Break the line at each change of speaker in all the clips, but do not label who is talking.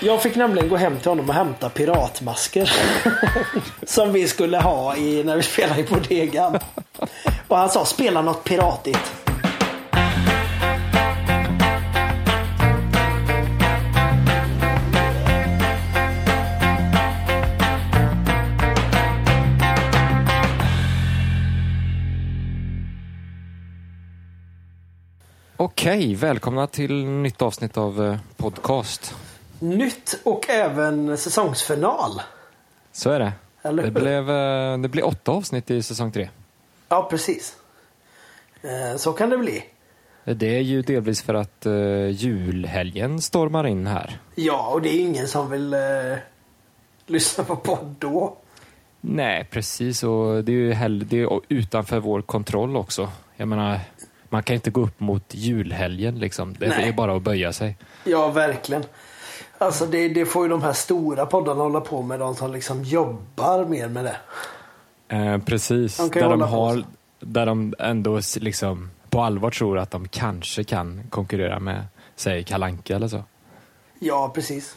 Jag fick nämligen gå hem till honom och hämta piratmasker. som vi skulle ha i, när vi spelade i Bodegan. Och han sa spela något piratigt.
Okej, välkomna till nytt avsnitt av eh, podcast.
Nytt och även säsongsfinal.
Så är det.
Eller
Det
hur?
blev, eh, det blev åtta avsnitt i säsong tre.
Ja, precis. Eh, Så kan det bli.
Det är ju delvis för att eh, julhelgen stormar in här.
Ja, och det är ingen som vill eh, lyssna på podd då.
Nej, precis. Och det är ju hell- det är utanför vår kontroll också. Jag menar, man kan inte gå upp mot julhelgen liksom. Det
Nej.
är bara att böja sig.
Ja, verkligen. Alltså det, det får ju de här stora poddarna hålla på med. De som liksom jobbar mer med det.
Eh, precis.
De kan ju
där, de
hålla på
har,
så.
där de ändå s- liksom på allvar tror att de kanske kan konkurrera med, säg Kalanka eller så.
Ja, precis.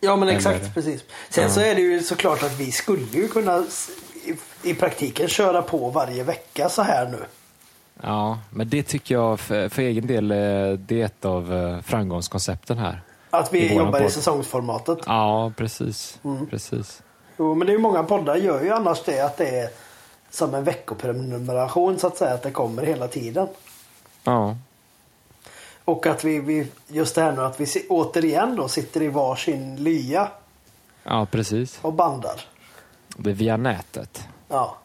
Ja, men
Eller-
exakt. Precis. Sen så är det ju såklart att vi skulle ju kunna s- i, i praktiken köra på varje vecka så här nu.
Ja, men det tycker jag för, för egen del eh, det är ett av eh, framgångskoncepten här.
Att
I
vi
våran
jobbar i
podd.
säsongsformatet.
Ja, precis. precis.
Jo, men det är ju många poddar gör ju annars det att det är som en veckoprenumeration så att säga. Att det kommer hela tiden.
Ja,
Och att vi, vi just det här nu att vi si- återigen då sitter i varsin lya
ja precis.
och bandar.
Det är via nätet.
Ja.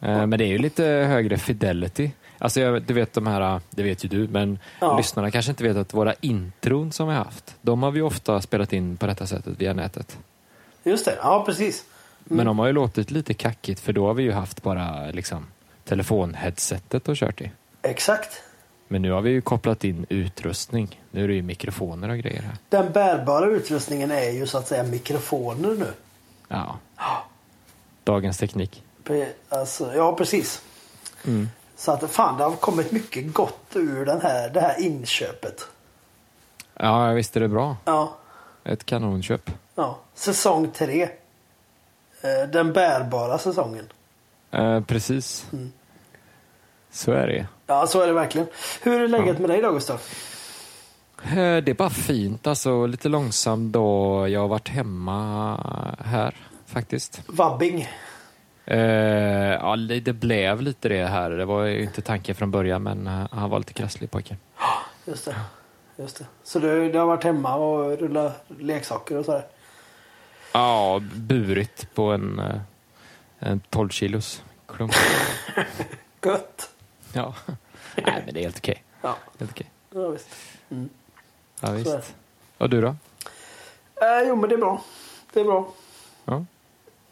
Eh, Men det är ju lite högre fidelity. Alltså jag, du vet de här, eh, det vet ju du, men
Ja.
lyssnarna kanske inte vet att våra intron som vi har haft, de har vi ofta spelat in på detta sättet via nätet.
Just det, ja precis.
Men de har ju låtit lite kackigt för då har vi ju haft bara liksom telefonheadsetet och kört i.
Exakt.
Men nu har vi ju kopplat in utrustning. Nu är det ju mikrofoner och grejer här.
Den bärbara utrustningen är ju så att säga mikrofoner nu.
Ja. Dagens teknik.
Pre- Alltså, ja, precis. Så att fan, det har kommit mycket gott ur den här, det här inköpet.
Ja, visst är det bra.
Ja,
Ett kanonköp.
ja. Säsong tre. Eh, Den bärbara säsongen.
Eh, precis. Så är det.
Ja, så är det verkligen. Hur är läget med dig då, Gustav?
Eh, Det är bara fint alltså. Lite långsam då. Jag har varit hemma här faktiskt.
Vabbing.
Eh, ja, li- det blev lite det här. Det var ju inte tanken från början men eh, han var lite krasslig pojken.
Just det. Just det. Så du, du har varit hemma och rullat leksaker och sådär?
Ja, burit på en, eh, en 12 kilos klump.
Gött!
Ja. Nej, men det är helt okej.
Ja,
Helt okej.
ja visst.
Ja,
är det.
visst. Och du då?
Eh, jo, men det är bra. Det är bra.
Ja,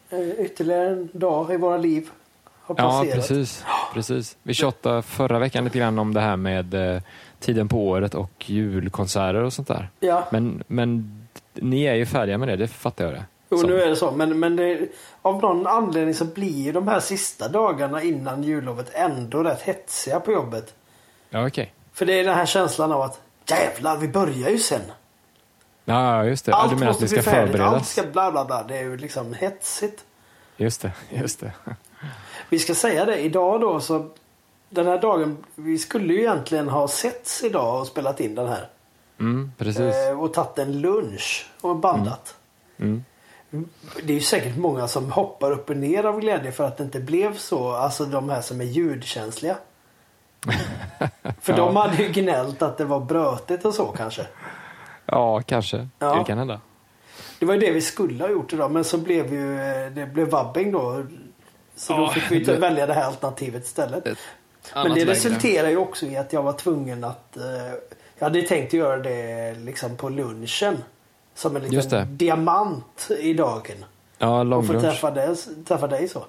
Eh, ytterligare en dag i våra liv har
ja
passerat.
precis. precis. Vi tjatade förra veckan lite grann om det här med eh, tiden på året och julkonserter och sånt där.
Ja,
Men, men ni är ju färdiga med det, det fattar jag det.
jo,
som.
nu är det så. Men, men det, av någon anledning så blir ju de här sista dagarna innan jullovet ändå rätt hetsiga på jobbet.
Ja, okej.
För det är den här känslan av att jävlar, vi börjar ju sen.
Ja, ja, just det. Ja, du
Allt
menar att
måste
ni
bli
ska
färdigt. Allt
förberedas?
ska bla bla bla. Det är ju liksom hetsigt.
Just det, just det.
Vi ska säga det, idag då så den här dagen, vi skulle ju egentligen ha setts idag och spelat in den här.
Mm, precis.
Eh, och tagit en lunch och bandat.
Mm.
Det är ju säkert många som hoppar upp och ner av glädje för att det inte blev så. Alltså de här som är ljudkänsliga. för
Ja.
de hade ju gnällt att det var brötigt och så kanske.
Ja, kanske.
Ja.
Det kan hända.
Det var ju det vi skulle ha gjort idag men så blev ju eh, det blev vabbing då. Så då
Ja,
fick vi inte
det-
välja det här alternativet istället. Men det resulterar ju också i att jag var tvungen att... Eh, jag hade tänkt göra det liksom på lunchen. Som en
Just det.
liten diamant i dagen.
Ja,
Och få
långlunch.
träffa dig, träffa dig så.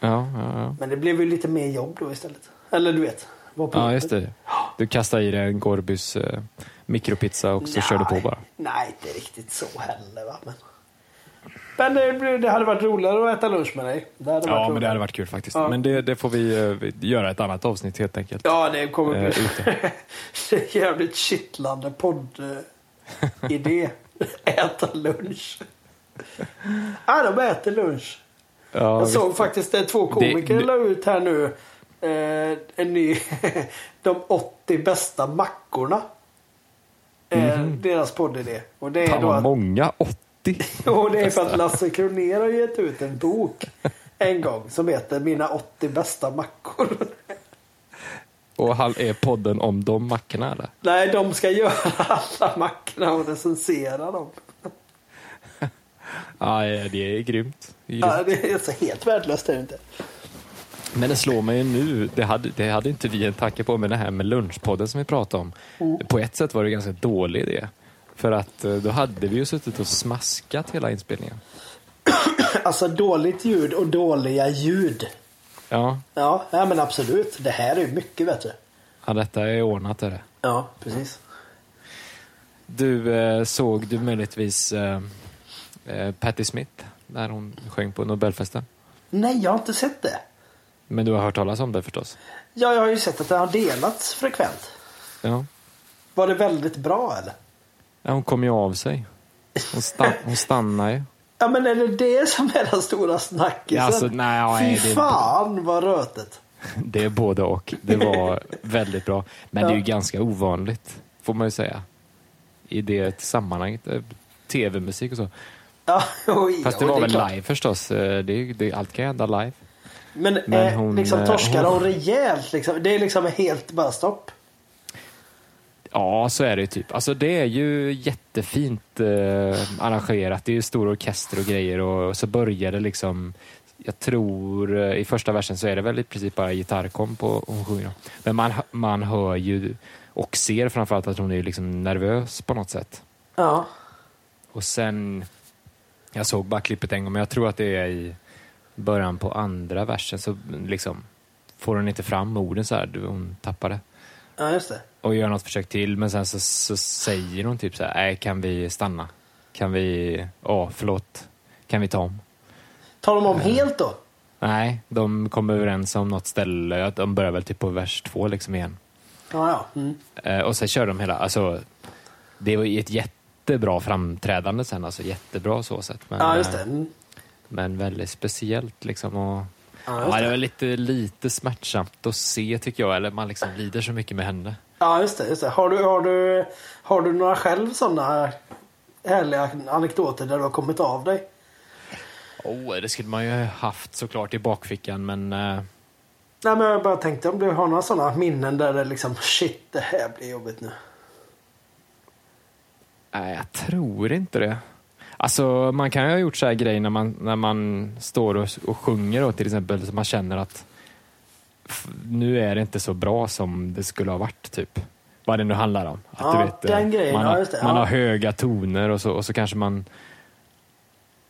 Ja, ja, ja.
Men det blev ju lite mer jobb då istället. Eller du vet. Var på
ja,
jobbet.
just det. Du kastade i dig en Gorbys eh, mikropizza och så körde du på bara.
Nej, inte riktigt så heller va. Men, men det, blev- det hade varit roligare att äta lunch med dig. Det hade
Ja,
varit
men det
roligare.
hade varit kul faktiskt.
Ja.
Men det, det får vi eh, vi- göra ett annat avsnitt helt enkelt.
Ja, det kommer
Eh,
bli... det är jävligt kittlande podd... eh, idé. Äta lunch. Ja, de äter lunch.
Ja,
Jag såg faktiskt det två komiker
Det- det-
la ut här nu. Eh, en ny. de 80 bästa mackorna. Eh, Deras poddidé. Och det är
Mhm. Fan
då
vad
att
många. 80.
och det är för att Lasse Kronér har gett ut en bok en gång som heter Mina 80 bästa mackor.
Och han är podden om de mackorna eller?
Nej, de ska göra alla mackorna och recensera dem.
Ja, det är grymt. Det är grymt.
Ja, det är så helt värdelöst är det inte.
Men det slår mig ju nu, det hade, det hade inte vi en tanke på, men det här med lunchpodden som vi pratade om.
Mm.
På ett sätt var det ganska dålig idé. För att eh, då hade vi ju suttit och smaskat hela inspelningen.
Alltså dåligt ljud och dåliga ljud.
Ja,
Ja, ja men absolut. Det här är ju mycket bättre.
ja detta är ordnat. Är det.
Ja, precis.
Du, eh, såg du möjligtvis eh, eh, Patti Smith när hon sjöng på Nobelfesten?
Nej, jag har inte sett det.
Men du har hört talas om det förstås?
Ja, jag har ju sett att det har delats frekvent.
Ja.
Var det väldigt bra eller?
ja hon kom ju av sig. Hon, sta- hon stannade ju.
Ja, men är det det som är den stora snackisen?
Ja, alltså, nej, ja,
Fy
nej, det-
fan vad rötet.
Det är både och. Det var väldigt bra. Men det är ju
Ja.
ganska ovanligt, får man ju säga. I det sammanhanget. eh, Tv-musik och så.
Ja, oj,
Fast det
oj,
var
är
väl
klart.
live förstås. Eh, Det, är- det, allt kan ju hända live.
Men,
Men
eh,
hon,
liksom
eh,
torskar hon
hon-
rejält liksom. Det är liksom helt bara stopp.
Ja, så är det ju typ. Alltså det är ju jättefint eh, arrangerat. Det är ju stor orkester och grejer och så börjar det liksom jag tror eh, i första versen så är det väl i princip bara gitarrkomp och hon sjunger. då. Men man, hö- man hör ju och ser framförallt att hon är ju liksom nervös på något sätt.
Ja.
Och sen, jag såg bara klippet en gång, men jag tror att det är i början på andra versen så liksom får hon inte fram orden så här, du- hon tappar det.
ja, just det.
Och gör något försök till, men sen så, så säger hon typ så här, nej kan vi stanna? Kan vi, ja förlåt, kan vi ta om?
Tar de om
Mm.
helt då?
Nej, de kom överens om något ställe, att de börjar väl typ på vers två liksom igen.
Ja, ja. Mm.
Eh, och sen kör de hela, alltså det var ju ett jättebra framträdande sen, alltså jättebra så sett. Men,
ja just det.
eh,
Mm.
Men väldigt speciellt liksom. Och,
Ja,
ja,
just
det.
det.
var lite, lite smärtsamt att se tycker jag. Eller man liksom lider så mycket med henne.
Ja, just det. Just det. Har, du, har, du, har du några själv sådana härliga anekdoter där du har kommit av dig?
Oh, det skulle man ju haft såklart i bakfickan men eh,
Nej, men jag bara tänkte om du har några sådana minnen där det liksom shit, det här blir jobbigt nu.
nej, jag tror inte det. Alltså man kan ju ha gjort så här grejer när man, när man står och, och sjunger då, till exempel så man känner att f- nu är det inte så bra som det skulle ha varit typ. Vad det nu handlar om. Att
Ja,
du vet, eh,
den grejen,
man,
ja,
har,
just det,
man
ja.
har höga toner och så, och så kanske man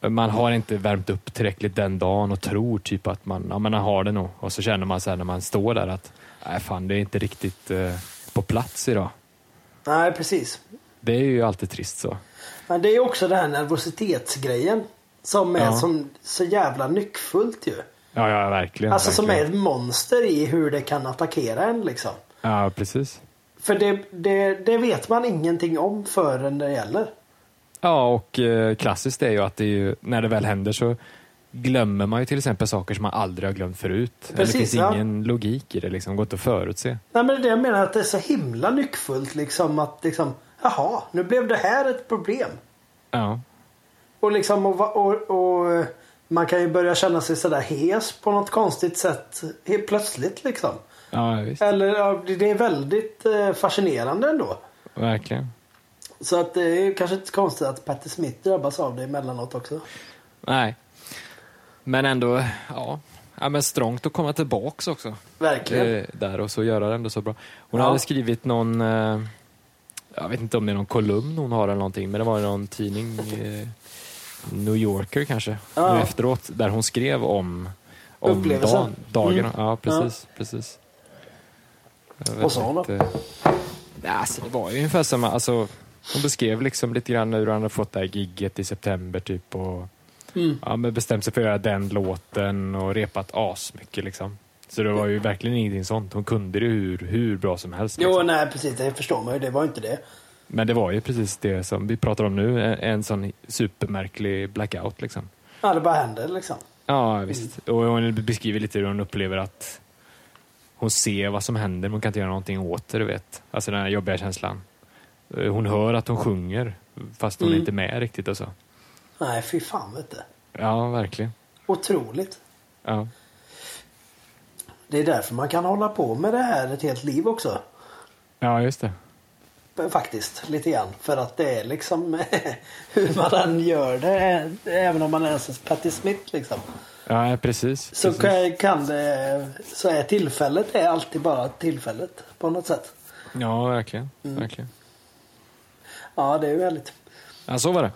man har inte värmt upp tillräckligt den dagen och tror typ att man, ja, men man har det nog. Och så känner man sen när man står där att nej fan det är inte riktigt eh, på plats idag.
Nej, precis.
Det är ju alltid trist så.
Men det är ju också den här nervositetsgrejen. Som är
Ja.
som, så jävla nyckfullt ju.
Ja, ja verkligen.
Alltså som är
verkligen.
ett monster i hur det kan attackera en liksom.
Ja, precis.
För det, det, det vet man ingenting om förrän det gäller.
Ja, och eh, klassiskt är ju att det är ju, när det väl händer så glömmer man ju till exempel saker som man aldrig har glömt förut. Eller det
Precis,
finns
ja.
ingen logik i det, liksom, går inte att förutse.
Nej men det är det jag menar att det är så himla nyckfullt liksom att liksom Jaha, nu blev det här ett problem.
Ja,
Och liksom och, va- och, och eh, man kan ju börja känna sig sådär hes på något konstigt sätt helt plötsligt liksom.
ja visst.
Eller ja, det det är väldigt eh, fascinerande ändå.
Verkligen.
Så att det är ju kanske inte så konstigt att Patti Smith drabbas av det emellanåt också.
Nej. Men ändå, ja. ja men strångt att komma tillbaks också.
Verkligen.
Eh, Där och så göra det ändå så bra. Hon
Ja.
hade skrivit någon, eh, jag vet inte om det är någon kolumn hon har eller någonting, men det var ju någon tidning, eh, New Yorker kanske,
Ja.
nu efteråt, där hon skrev om, om
Upplevelsen. Mm.
dagen, dagen. Ja, precis. precis. Jag vet
Vad sa hon då?
inte. Nej, alltså, det var ju ungefär samma, alltså, hon beskrev liksom lite grann hur han hade fått det här gigget i september typ och ja, men bestämt sig för att göra den låten och repat asmycket liksom. Så det var ju verkligen ingenting sånt. Hon kunde det hur, hur bra som helst.
Jo,
Liksom.
nej precis. Det förstår man ju. Det var inte det.
Men det var ju precis det som vi pratar om nu, en, en sån supermärklig blackout. Liksom.
Ja, det bara händer liksom.
Ja, visst. Och hon beskriver lite hur hon upplever att hon ser vad som händer, men hon kan inte göra någonting åt det. Du vet. Alltså den här jobbiga känslan. Eh, Hon hör att hon sjunger, fast hon är
Mm.
inte med riktigt. alltså. Och så.
Nej, fy fan vet du.
Ja, verkligen.
Otroligt.
Ja.
Det är därför man kan hålla på med det här ett helt liv också.
ja, just det.
Faktiskt, lite grann. För att det är liksom hur man än gör det, även om man är en Patti Smith liksom.
Ja, precis.
Så
precis.
kan, kan det, så är tillfället är alltid bara tillfället på något sätt.
Ja, verkligen.
Mm.
verkligen.
Ja, det är ju härligt.
Ja, så var det.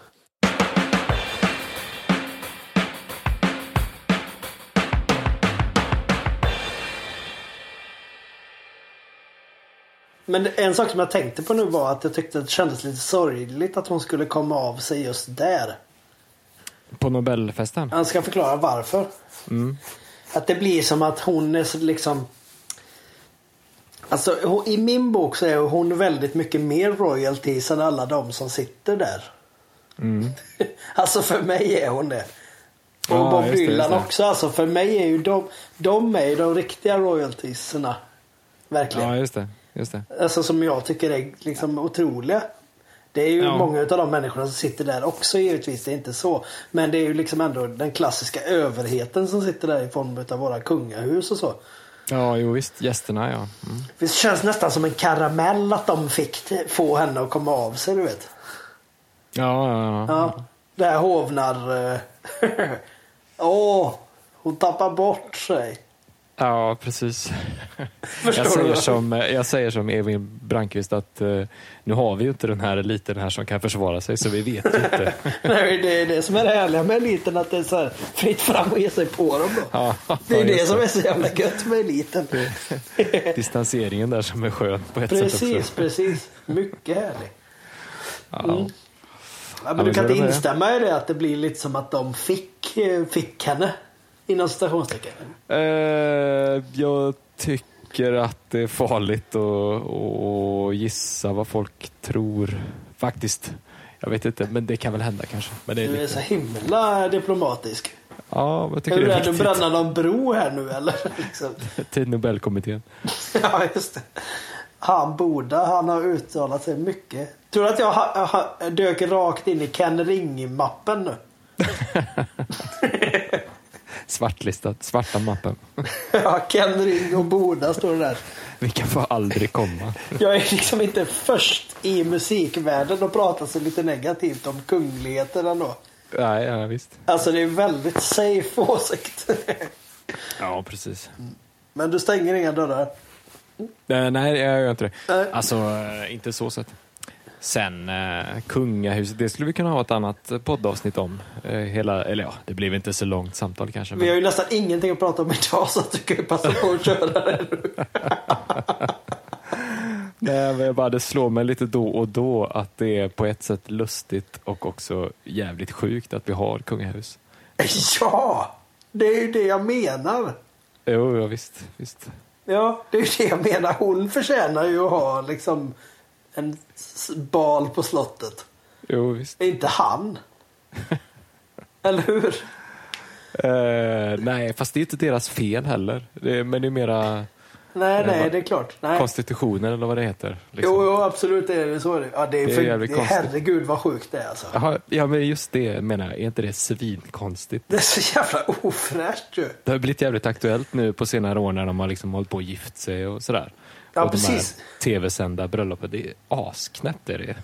Men en sak som jag tänkte på nu var att jag tyckte att det kändes lite sorgligt att hon skulle komma av sig just där.
På Nobelfesten?
Jag ska förklara varför.
Mm.
Att det blir som att hon är så liksom... Alltså hon- i min bok så är hon väldigt mycket mer royalties än alla de som sitter där.
Mm.
Alltså för mig är hon det. Och
Ja,
Bob
just det, just
Dylan
det.
också. Alltså för mig är ju de, de är ju de riktiga royaltiesna. Verkligen.
Ja, just det. Just det.
Alltså som jag tycker är liksom otroliga. Det är ju
Ja.
många av de människorna som sitter där också givetvis, det är inte så. Men det är ju liksom ändå den klassiska överheten som sitter där i form av våra kungahus och så.
Ja, jo visst. Gästerna, ja. Mm.
Det känns nästan som en karamell att de fick t- få henne att komma av sig, du vet.
Ja, ja, ja.
Ja, det här hovnar... eh, Åh, hon tappar bort sig.
ja precis. Jag
du?
säger, som, jag säger som Evin Brankvist att eh, nu har vi ju inte den här eliten här som kan försvara sig, så vi vet ju inte.
Nej, det är det som är det härliga med eliten, att det är så här fritt fram att ge sig på dem då.
Ja,
Det är
just
det som är så jävla gött med eliten.
Distanseringen där som är skön på ett sätt
Precis, Mm.
också.
precis. Mycket härlig.
Ja.
Ja,
Ja,
men du
men
kan
så är
inte
det med.
instämma i det att det blir lite som att de fick, eh, fick henne. Inom citationstecken.
Eh, jag tycker att det är farligt att, att gissa vad folk tror, faktiskt. Jag vet inte, men det kan väl hända kanske. Men det är
Du är
lite,
så himla diplomatisk.
ja, jag tycker
Är du
det är
rädd att
viktigt.
bränna någon bro här nu eller? Liksom.
Till Nobelkommittén.
Ja, just det. Han borde, han har uttalat sig mycket. Tror du att jag ha, ha, dök rakt in i Ken Ring-mappen nu?
Svartlistat, svarta mappen.
Ja, Ken Ring och Boda står det där.
Vi kan få aldrig komma.
Jag är liksom inte först i musikvärlden och pratar så lite negativt om kungligheter ändå.
Nej, ja, visst.
Alltså det är väldigt safe åsikt.
Ja, precis.
Men du stänger inga dörrar.
Eh, nej, jag gör inte det.
Nej.
Alltså, eh, inte så sett. Sen eh, kungahuset, det skulle vi kunna ha ett annat eh, poddavsnitt om. Eh, hela, eller ja, det blev inte så långt samtal kanske.
Vi har
Men,
ju nästan ingenting att prata om idag så att du kan ju passa på att köra det nu.
nej, men jag bara, det slår mig lite då och då att det är på ett sätt lustigt och också jävligt sjukt att vi har kungahus.
Ja! Det är ju det jag menar.
Jo, ja, visst. visst.
Ja, det är ju det jag menar. Hon förtjänar ju att ha liksom en s- bal på slottet.
Jo, visst.
Inte han. Eller hur?
Eh, nej, fast det är inte deras fel heller. Det, men det är mera
Nej,
Det
nej,
var-
det är klart. Nej.
konstitutionen eller vad det heter. liksom.
Jo, jo, absolut är det så. Ja, det är,
Det är
för,
jävligt
det,
konstigt.
herregud vad sjukt det är alltså.
Jaha, ja, men just det menar jag. Är inte det svinkonstigt?
Det är så jävla ofräscht ju.
Det har blivit jävligt aktuellt nu på senare år när de har liksom hållit på och gift sig och sådär.
Ja,
och
precis.
de här tv-sända bröllopet. Det är asknäppt. Är det.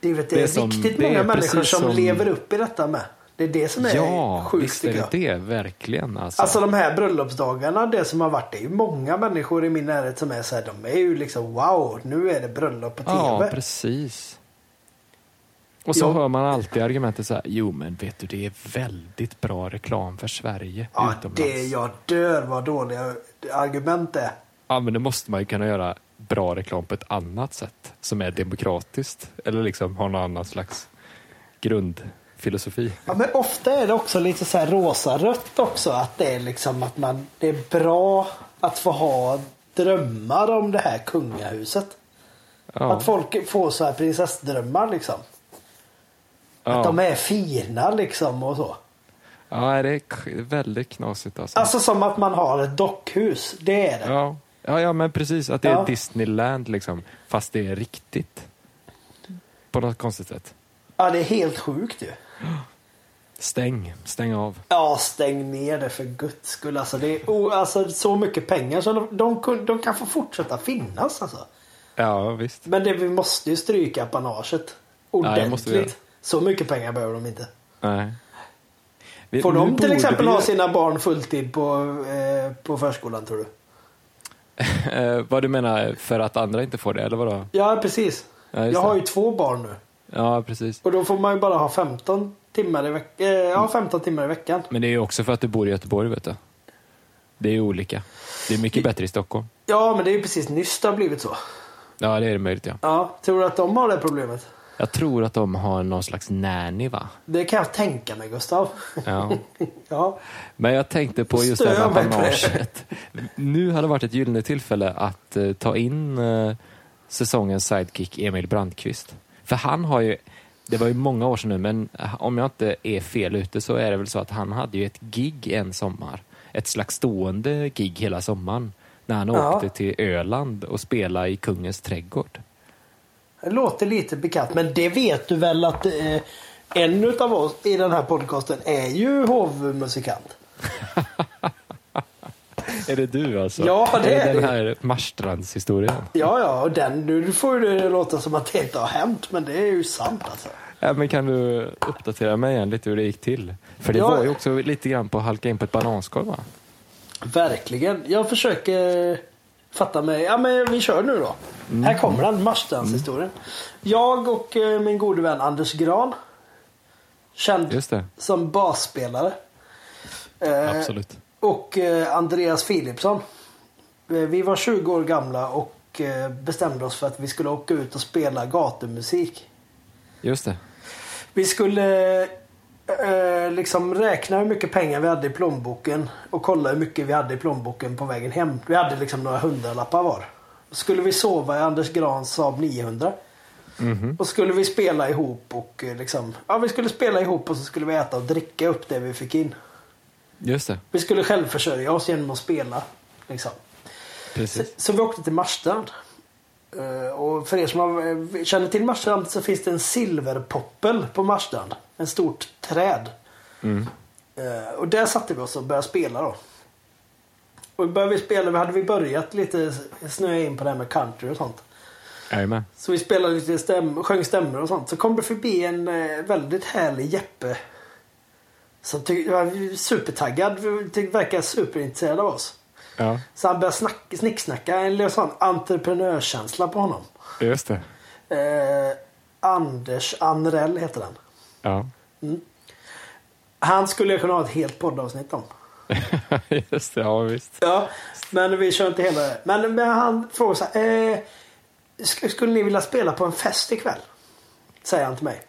Det är, vet, det
Det
är
är som-
riktigt
det är
många människor
precis
som,
som-
lever upp i detta med. Det är det som är
ja,
sjukt
visst
tycker
är
jag.
det det. Verkligen. Alltså.
Alltså de här bröllopsdagarna, det som har varit, det är ju många människor i min närhet som är så här, de är ju liksom wow, nu är det bröllop på
ja,
tv.
precis. Och så
Ja.
hör man alltid argumentet så här. Jo, men vet du, det är väldigt bra reklam för Sverige
ja,
utomlands.
det jag dör vad dåliga argument det är.
Ja, men då måste man ju kunna göra bra reklam på ett annat sätt som är demokratiskt eller liksom har någon annan slags grundfilosofi.
Ja, men ofta är det också lite så här rosa-rött också. Att det är liksom att man, det är bra att få ha drömmar om det här kungahuset.
Ja.
Att folk får så här prinsessdrömmar liksom. Att de är fina liksom och så.
Ja, det är k- väldigt knasigt alltså.
Alltså som att man har ett dockhus. Det är det.
Ja. Ja, ja, men precis. Att det är
Ja.
Disneyland liksom. Fast det är riktigt. På något konstigt sätt.
Ja, det är helt sjukt ju.
Stäng. Stäng av.
Ja, stäng ner det för guds skull. Alltså, det är o- alltså, så mycket pengar så de, de, kun- de kan få fortsätta finnas. Alltså.
Ja, visst.
Men det, vi måste ju stryka apanaget
det
ordentligt.
måste vi
så mycket pengar behöver de inte.
Nej. Vi-
Får
nu
de till
borde
exempel
vi-
ha sina barn fulltid på, eh, på förskolan tror du?
Eh, vad du menar, för att andra inte får det, eller vadå?
Ja, precis.
Ja, just
Jag har
det.
ju två barn nu.
Ja, precis.
Och då får man ju bara ha 15 timmar i, veck- eh, ja, 15 timmar i veckan.
Men det är ju också för att du bor i Göteborg, vet du. Det är ju olika. Det är mycket bättre i Stockholm.
Ja, men det är ju precis nyss det har blivit så.
Ja, det är det möjligt, ja.
Ja, tror du att de har det problemet?
Jag tror att de har någon slags nanny, va?
Det kan jag tänka mig, Gustav.
Ja.
Ja.
Men jag tänkte på just
Stör
det här med
mig på det.
apanaget. Nu hade varit ett gyllene tillfälle att eh, ta in eh, säsongens sidekick Emil Brandqvist. För han har ju, det var ju många år sedan nu, men eh, om jag inte är fel ute så är det väl så att han hade ju ett gig en sommar. Ett slags stående gig hela sommaren. När han
Ja.
åkte till Öland och spelade i Kungens trädgård.
Det låter lite bekant, men det vet du väl att eh, en utav oss i den här podcasten är ju hovmusikant.
Är det du alltså?
Ja, det är
Den
det.
här Marstrandshistorien.
Ja, ja, och den, nu får ju det låta som att det inte har hänt, men det är ju sant alltså.
Ja, Äh, men kan du uppdatera mig igen lite hur det gick till? För det
Ja.
var ju också lite grann på att halka in på ett bananskal va?
Verkligen. Jag försöker fatta mig. Ja, men vi kör nu då. Här kommer den, Marstrandshistorien. Jag och eh, min gode vän Anders Gran. Känd
Just det.
som basspelare. Eh,
Absolut.
Och eh, Andreas Philipsson. Eh, Vi var 20 år gamla och eh, bestämde oss för att vi skulle åka ut och spela gatumusik.
Just det.
Vi skulle eh, liksom räkna hur mycket pengar vi hade i plånboken och kolla hur mycket vi hade i plånboken på vägen hem. Vi hade liksom några hundralappar var. Skulle vi sova i Anders Grans Saab 900.
Mhm.
Och skulle vi spela ihop och eh, liksom, ja vi skulle spela ihop och så skulle vi äta och dricka upp det vi fick in.
Just det.
Vi skulle självförsörja oss genom att spela. Liksom. Så,
Precis.
så vi åkte till Marstrand. Eh, och för er som har, eh, känner till Marstrand så finns det en silverpoppel på Marstrand. En stort träd. Eh, och där satte vi oss och började spela då. Och började vi spela, vi hade vi börjat lite snöa in på det här med country och sånt.
Jajamän.
Så vi spelade lite stäm, sjöng stämmor och sånt. Så kom det förbi en eh, väldigt härlig Jeppe. Som tyck, var supertaggad, tyck, verkar superintresserad av oss.
Ja,
Så han började snack, snicksnacka, en liten sån entreprenörskänsla på honom.
just det.
Eh, Anders Anrell heter den.
Ja.
Han skulle jag kunna ha ett helt poddavsnitt om.
just det, ja visst.
Ja, men vi kör inte hela det. Men, men han frågar så här. Eh, sk- skulle ni vilja spela på en fest ikväll? Säger han till mig.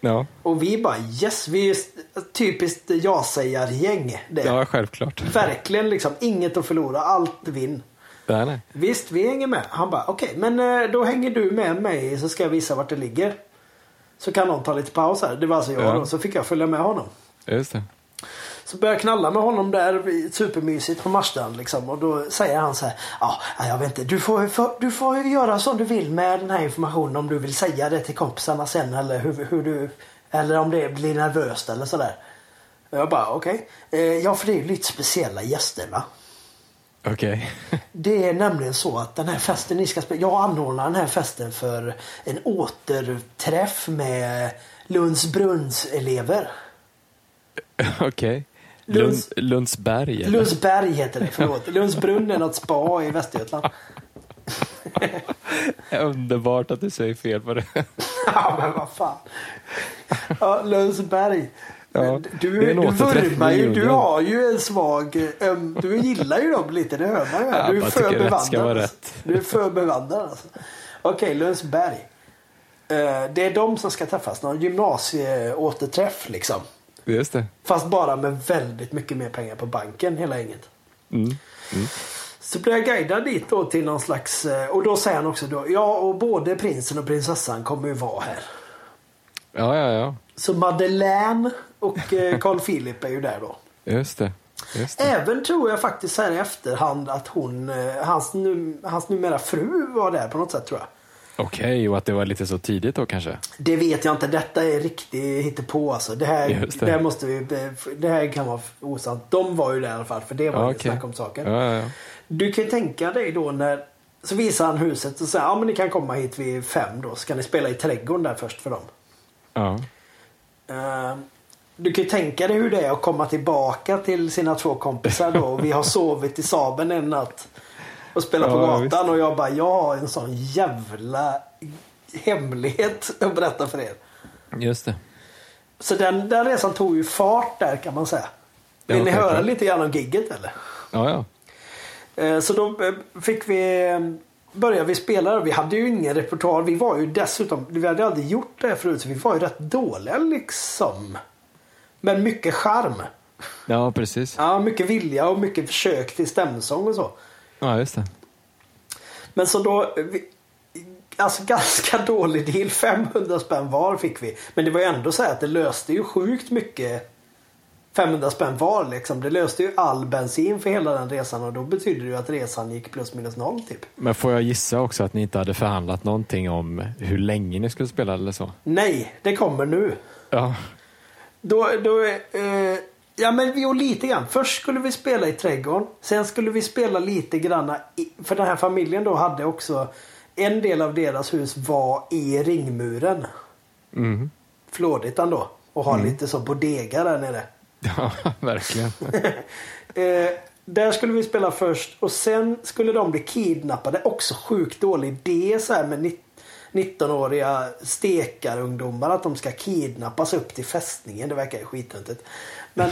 Ja,
Och vi bara yes, vi är ett typiskt ja-sägar-gäng. Det.
ja självklart.
Verkligen liksom, inget att förlora, allt vinn.
Nej, nej.
Visst, vi hänger med. Han bara okej, men eh, då hänger du med mig så ska jag visa vart det ligger. Så kan någon ta lite paus här. Det var alltså jag
Ja.
då, så fick jag följa med honom.
Just det.
Så började jag knalla med honom där, supermysigt på Marstrand liksom. Och då säger han så här, ja, nej, jag vet inte, du får, får- du får ju göra som du vill med den här informationen om du vill säga det till kompisarna sen eller hur, hur du, eller om det blir nervöst eller sådär. Och jag bara okej, Eh, ja för det är ju lite speciella gäster va.
Okej.
Det är nämligen så att den här festen ni ska spela, jag anordnar den här festen för en återträff med Lunds elever
Okej. Lund,
Lunds-
Lundsberg? eller?
Lundsberg heter det, förlåt. Lundsbrunn är något spa i Västergötland.
Underbart att du säger fel på det.
Ja, men vad fan. Ja, Lundsberg.
Ja,
Men
det är
du,
en
du
återträff
vurmar
med
ju, du
djungeln.
har ju en svag... öm- Du gillar ju dem lite, det hör man ju.
Ja,
här. Du är
man
för
tycker rätt ska vara
bevandrad. alltså.
rätt.
Du är för bevandrad alltså. Okej, Lundsberg. Eh, Det är de som ska träffas, någon gymnasieåterträff liksom.
Just det.
Fast bara med väldigt mycket mer pengar på banken, hela inget.
Mm.
Så blev jag guidad dit då till någon slags... eh, Och då säger han också då, ja och både prinsen och prinsessan kommer ju vara här.
Ja, ja, ja.
Så Madeleine och eh, Carl Philip är ju där då.
Just det. Just det.
Även tror jag faktiskt här i efterhand att hon, eh, hans, nu, hans numera fru var där på något sätt tror jag.
Okej, och att det var lite så tidigt då kanske?
Det vet jag inte. Detta är riktigt hittepå alltså. Det här,
Just
det.
det.
här måste vi... eh, Det här kan vara osant. De var ju där i alla fall för det var
Ja,
inget
okej.
snack om saken.
Ja, ja, ja.
Du kan ju tänka dig då när... Så visar han huset och säger ja men ni kan komma hit vid fem då. Så kan ni spela i trädgården där först för dem.
ja.
Eh, Du kan ju tänka dig hur det är att komma tillbaka till sina två kompisar då. Och vi har sovit i Saben en natt och spelat på
Ja,
gatan.
visst.
Och jag bara, jag har en sån jävla hemlighet att berätta för er.
Just det.
Så den, den resan tog ju fart där kan man säga.
Ja,
Vill ni
självklart.
höra lite grann om gigget eller?
Ja, ja.
Eh, Så då eh, fick vi eh, började vi spela. Vi hade ju ingen repertoar. Vi var ju dessutom, vi hade aldrig gjort det här förut, så vi var ju rätt dåliga liksom. Men mycket charm.
Ja, precis.
Ja, mycket vilja och mycket försök till stämsång och så.
Ja, just det.
Men så då, eh, vi, alltså ganska dålig deal. 500 spänn var fick vi. Men det var ju ändå så här att det löste ju sjukt mycket. 500 spänn var liksom. Det löste ju all bensin för hela den resan och då betyder det ju att resan gick plus minus noll typ.
Men får jag gissa också att ni inte hade förhandlat någonting om hur länge ni skulle spela eller så?
Nej, det kommer nu.
Ja,
Då, då, eh, ja men vi och lite grann. Först skulle vi spela i trädgården. Sen skulle vi spela lite grann i, för den här familjen då hade också en del av deras hus var i ringmuren.
mm.
Flådigt ändå. Och ha lite så bodega där nere.
ja verkligen.
Eh, där skulle vi spela först och sen skulle de bli kidnappade. Också sjukt dålig idé så här med nitt- 19-åriga stekarungdomar att de ska kidnappas upp till fästningen. Det verkar ju skithuntigt. Men,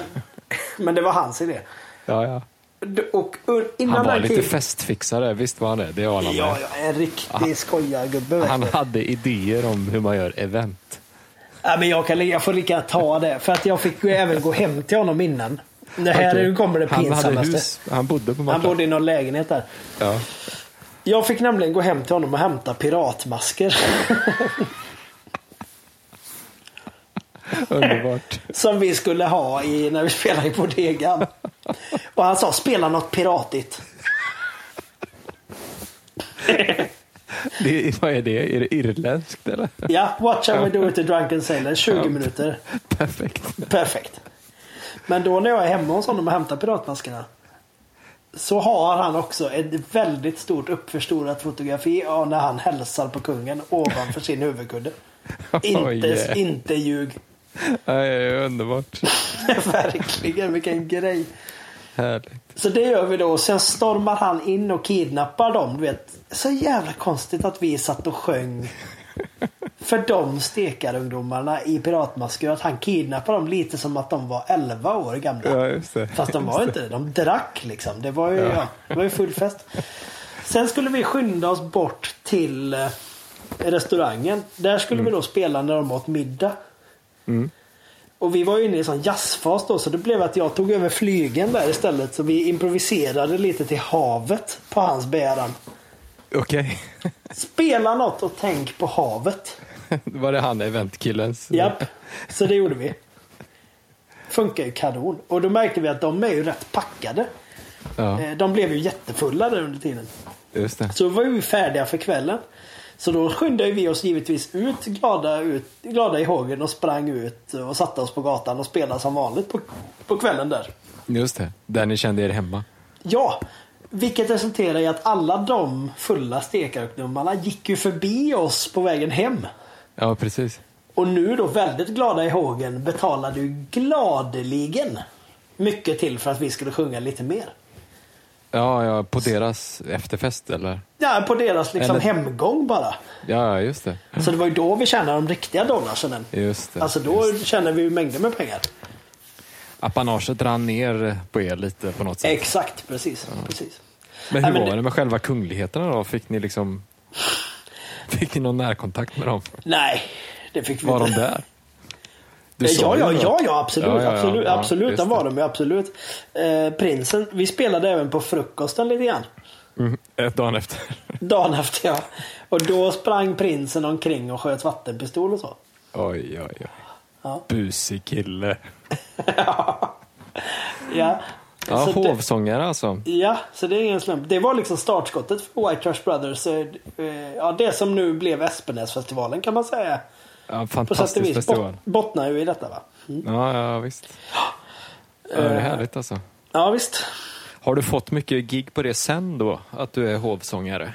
men det var hans idé.
Ja, ja.
D- Och un- innan
Han var
den
lite
kid-
festfixare, visst var han det? Det var han
Ja,
med.
ja, en riktig skojargubbe. vet
Han
du.
hade idéer om hur man gör event.
Ja, men jag, kan, li- jag får lika gärna ta det. För att jag fick ju även gå hem till honom innan. Det här
Okej.
nu kommer det
han hade
pinsammaste.
hus, han bodde på
Han
Marta.
bodde i någon lägenhet där.
Ja.
Jag fick nämligen gå hem till honom och hämta piratmasker.
Underbart.
som vi skulle ha i, när vi spelade i bodegan. Och han sa, spela något piratigt.
Det, vad är det? Är det irländskt eller?
Ja, what shall we do with the drunken sailor? 20 minuter.
Perfekt.
Perfekt. Men då när jag är hemma hos honom och hämtar piratmaskerna. Så har han också ett väldigt stort uppförstorat fotografi av när han hälsar på kungen ovanför sin huvudkudde. Inte,
Oj, eh.
inte ljug.
Nej, det är underbart.
Verkligen, vilken grej.
Härligt.
Så det gör vi då. Och Sen stormar han in och kidnappar dem. Du vet. Så jävla konstigt att vi satt och sjöng för de stekarungdomarna i piratmasker. Att han kidnappar dem lite som att de var 11 år gamla.
Ja, just det.
Fast de var inte det. De drack liksom. Det var ju, ja.
Ja.
det var ju full fest. Sen skulle vi skynda oss bort till eh, restaurangen. Där skulle vi då spela när de åt middag. Och vi var ju inne i en sån jazzfas då så det blev att jag tog över flygen där istället. Så vi improviserade lite till havet på hans begäran.
Okej.
Spela något och tänk på havet.
Var det han eventkillens?
Japp, så det gjorde vi. Funkar ju kanon. Och då märkte vi att de är ju rätt packade.
Ja,
Eh, De blev ju jättefulla där under tiden.
just det.
Så då var vi färdiga för kvällen. Så då skyndade vi oss givetvis ut glada, ut, glada i hågen och sprang ut och satte oss på gatan och spelade som vanligt på, på kvällen där.
Just det. Där ni kände er hemma.
Ja, vilket resulterade i att alla de fulla stekarungdomarna gick ju förbi oss på vägen hem.
Ja, precis.
Och nu då väldigt glada i hågen betalade ju gladeligen mycket till för att vi skulle sjunga lite mer.
Ja, ja, på deras efterfest eller?
Ja, på deras liksom
Eller-
hemgång bara.
Ja, just det.
Så det var ju då vi tjänade de riktiga dollarsen.
Just det.
Alltså då tjänar vi ju mängder med pengar.
Apanaget rann ner på er lite på något sätt.
Exakt, precis. precis.
Men
Nej,
hur
men
var
det-
det med själva kungligheterna då? Fick ni liksom... Fick ni någon närkontakt med dem?
Nej, det fick vi
Var de
inte.
där? Du sa
Eh, ja,
ju
ja,
det.
ja, ja, absolut.
Ja, ja, ja,
absolut,
ja,
absolut.
just
Den
det.
var de ju, absolut. Eh, prinsen, vi spelade även på frukosten lite grann.
Mm, ett dagen efter.
Dagen efter ja. Och då sprang prinsen omkring och sköt vattenpistol och så.
Oj, oj, oj.
Ja.
Busig kille.
Ja.
Ja,
så det,
hovsångare alltså.
ja, så det är ingen slump. Det var liksom startskottet för White Trash Brothers. eh, eh, Ja, det som nu blev Espenäsfestivalen kan man säga.
Ja,
På sätt och vis
fantastisk
Mm. bot,
festival.
bottnar ju i detta va.
Ja, ja, visst. Ja,
Eh.
det är härligt alltså.
Ja, visst.
Har du fått mycket gig på det sen då? Att du är hovsångare?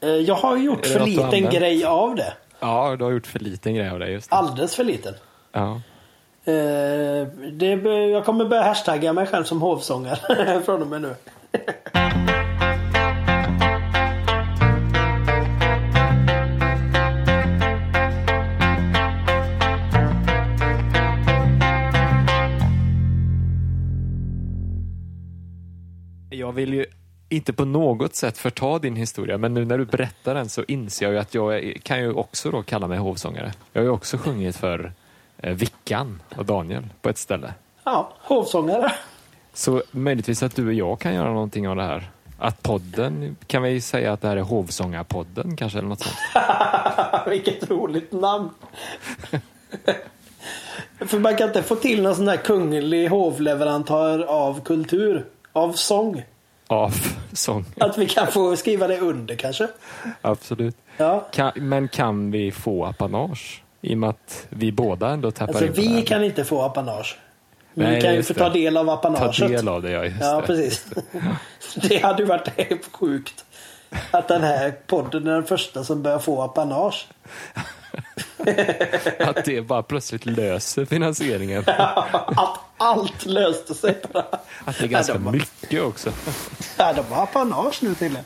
Eh, Jag har ju
Är
gjort
det
för
något du
liten
använt?
grej av det.
Ja, du har gjort för liten grej av det. Just det.
Alldeles för liten.
Ja.
Eh, det, be- jag kommer börja hashtagga mig själv som hovsångare från och med nu.
Jag vill ju inte på något sätt förta din historia, men nu när du berättar den så inser jag ju att jag är- kan ju också då kalla mig hovsångare. Jag har ju också sjungit för eh, Vickan och Daniel på ett ställe.
Ja, hovsångare.
Så möjligtvis att du och jag kan göra någonting av det här. Att podden, kan vi säga att det här är Hovsångarpodden kanske eller något sånt?
Vilket roligt namn. För man kan inte få till någon sån där kunglig hovleverantör av kultur. Av sång.
Av sång,
Att vi kan få skriva det under kanske.
absolut.
Ja.
Kan, men kan vi få apanage? I och med att vi båda ändå tappar
Alltså
in på
vi
det här.
kan inte få apanage. Men
Nej,
vi kan ju
just
få
det.
ta del av
ta
apanaget.
del av det, ja just
Ja,
det.
precis. Det hade ju varit helt sjukt. Att den här podden är den första som börjar få apanage.
Att det bara plötsligt löser finansieringen.
Att allt löste sig bara.
Att det är ganska
Ja, de har-
mycket också.
Ja, de har apanage nu tydligen.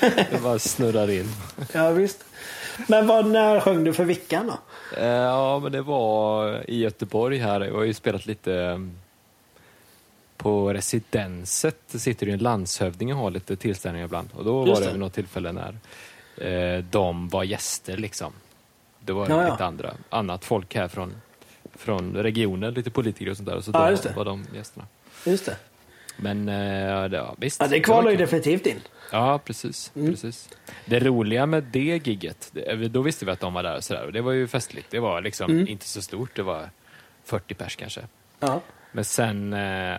Det bara snurrar in.
Ja, visst. Men vad, när sjöng du för Vickan då?
Eh, Ja, men det var i Göteborg här. Jag har ju spelat lite eh, på residenset. Det sitter ju en landshövding och har lite tillställningar ibland. Och då
Just
var det
det.
vid något tillfälle när eh, de var gäster liksom. Då var det
Ja, ja.
lite andra, annat folk här från, från regionen, lite politiker och sånt där. Så
Ja, just
då
det.
var de gästerna.
Just det.
Men eh, det, ja, visst.
Ja, det
var
kvalar ju
kul.
definitivt in.
Ja, precis, precis. Det roliga med det gigget, det- då visste vi att de var där och sådär. Och det var ju festligt. Det var liksom inte så stort, det var 40 pers kanske.
Ja.
Men sen eh,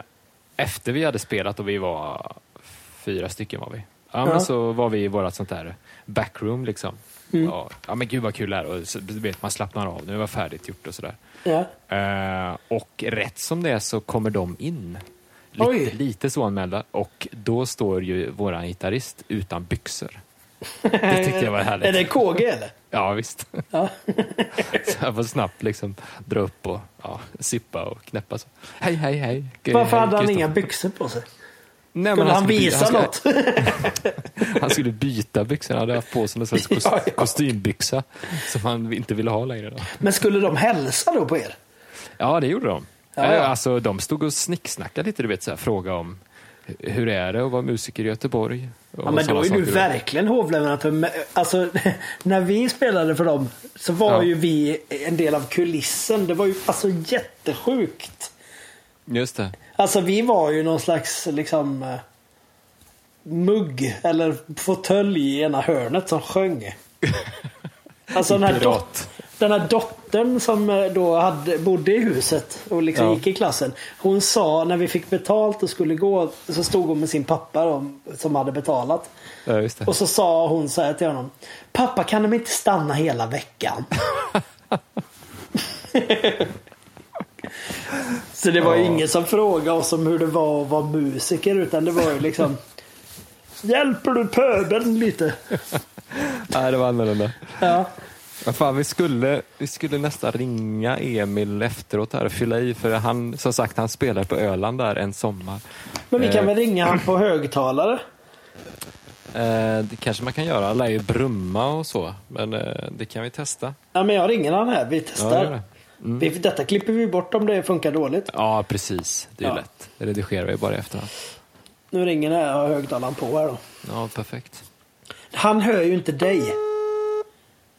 efter vi hade spelat och vi var fyra stycken var vi. Ja,
Ja.
men så var vi i vårat sånt där backroom liksom. Ja, ja men gud vad kul det här och så, du vet man slappnar av, nu var färdigt gjort och sådär.
Ja.
Eh, och rätt som det är så kommer de in.
Oj.
Lite, lite så anmälda. Och då står ju våran gitarrist utan byxor. Det tyckte jag var
Är det
härligt.
KG eller?
Ja, visst.
Ja.
Så jag får snabbt liksom dra upp och ja, sippa och knäppa. Så. Hej, hej, hej.
Varför hade
Hej,
han
Kristoffer.
inga byxor på sig?
Nej, men
Kunde han
skulle by-
visa
skulle-
något?
Han skulle byta byxorna. Han hade haft på sig någon sorts kost-
Ja, ja.
kostymbyxa som han inte ville ha längre. Då.
Men skulle de hälsa då på er?
Ja, det gjorde de.
Ja, ja.
Eh, Alltså, de stod och snicksnackade lite, du vet, så här, fråga om hu- hur är det att vara musiker i Göteborg?
Ja, men då är du verkligen hovleverantör. Men, Alltså, när vi spelade för dem så var
Ja.
ju vi en del av kulissen. Det var ju alltså jättesjukt.
Just det.
Alltså vi var ju någon slags liksom eh, mugg eller fåtölj i ena hörnet som sjöng. Alltså den här, dot-
Pirat.
den här dottern som eh, då hade, bodde i huset och liksom
Ja.
gick i klassen. Hon sa när vi fick betalt och skulle gå så stod hon med sin pappa då, som hade betalat.
Ja, just det.
Och så sa hon så här till honom. Pappa kan de inte stanna hela veckan? så det var ju
Ja.
ingen som frågade oss om hur det var att vara musiker utan det var ju liksom. Hjälper du pöbeln lite?
Nej, det var annorlunda.
Ja.
Vad fan, vi skulle, vi skulle nästan ringa Emil efteråt här och fylla i, för han, som sagt, han spelar på Öland där en sommar.
Men vi kan
Eh,
väl ringa han på högtalare?
eh, det kanske man kan göra. Han lär ju brumma och så, men eh, det kan vi testa.
Ja men jag ringer han här. Vi
Ja,
testar.
gör det. Mm.
Vi, detta klipper vi bort om det funkar dåligt.
Ja, precis. Det är ju
Ja.
lätt. Det redigerar vi bara i efterhand.
Nu ringer den här högtalaren på här då.
Ja, perfekt.
Han hör ju inte dig.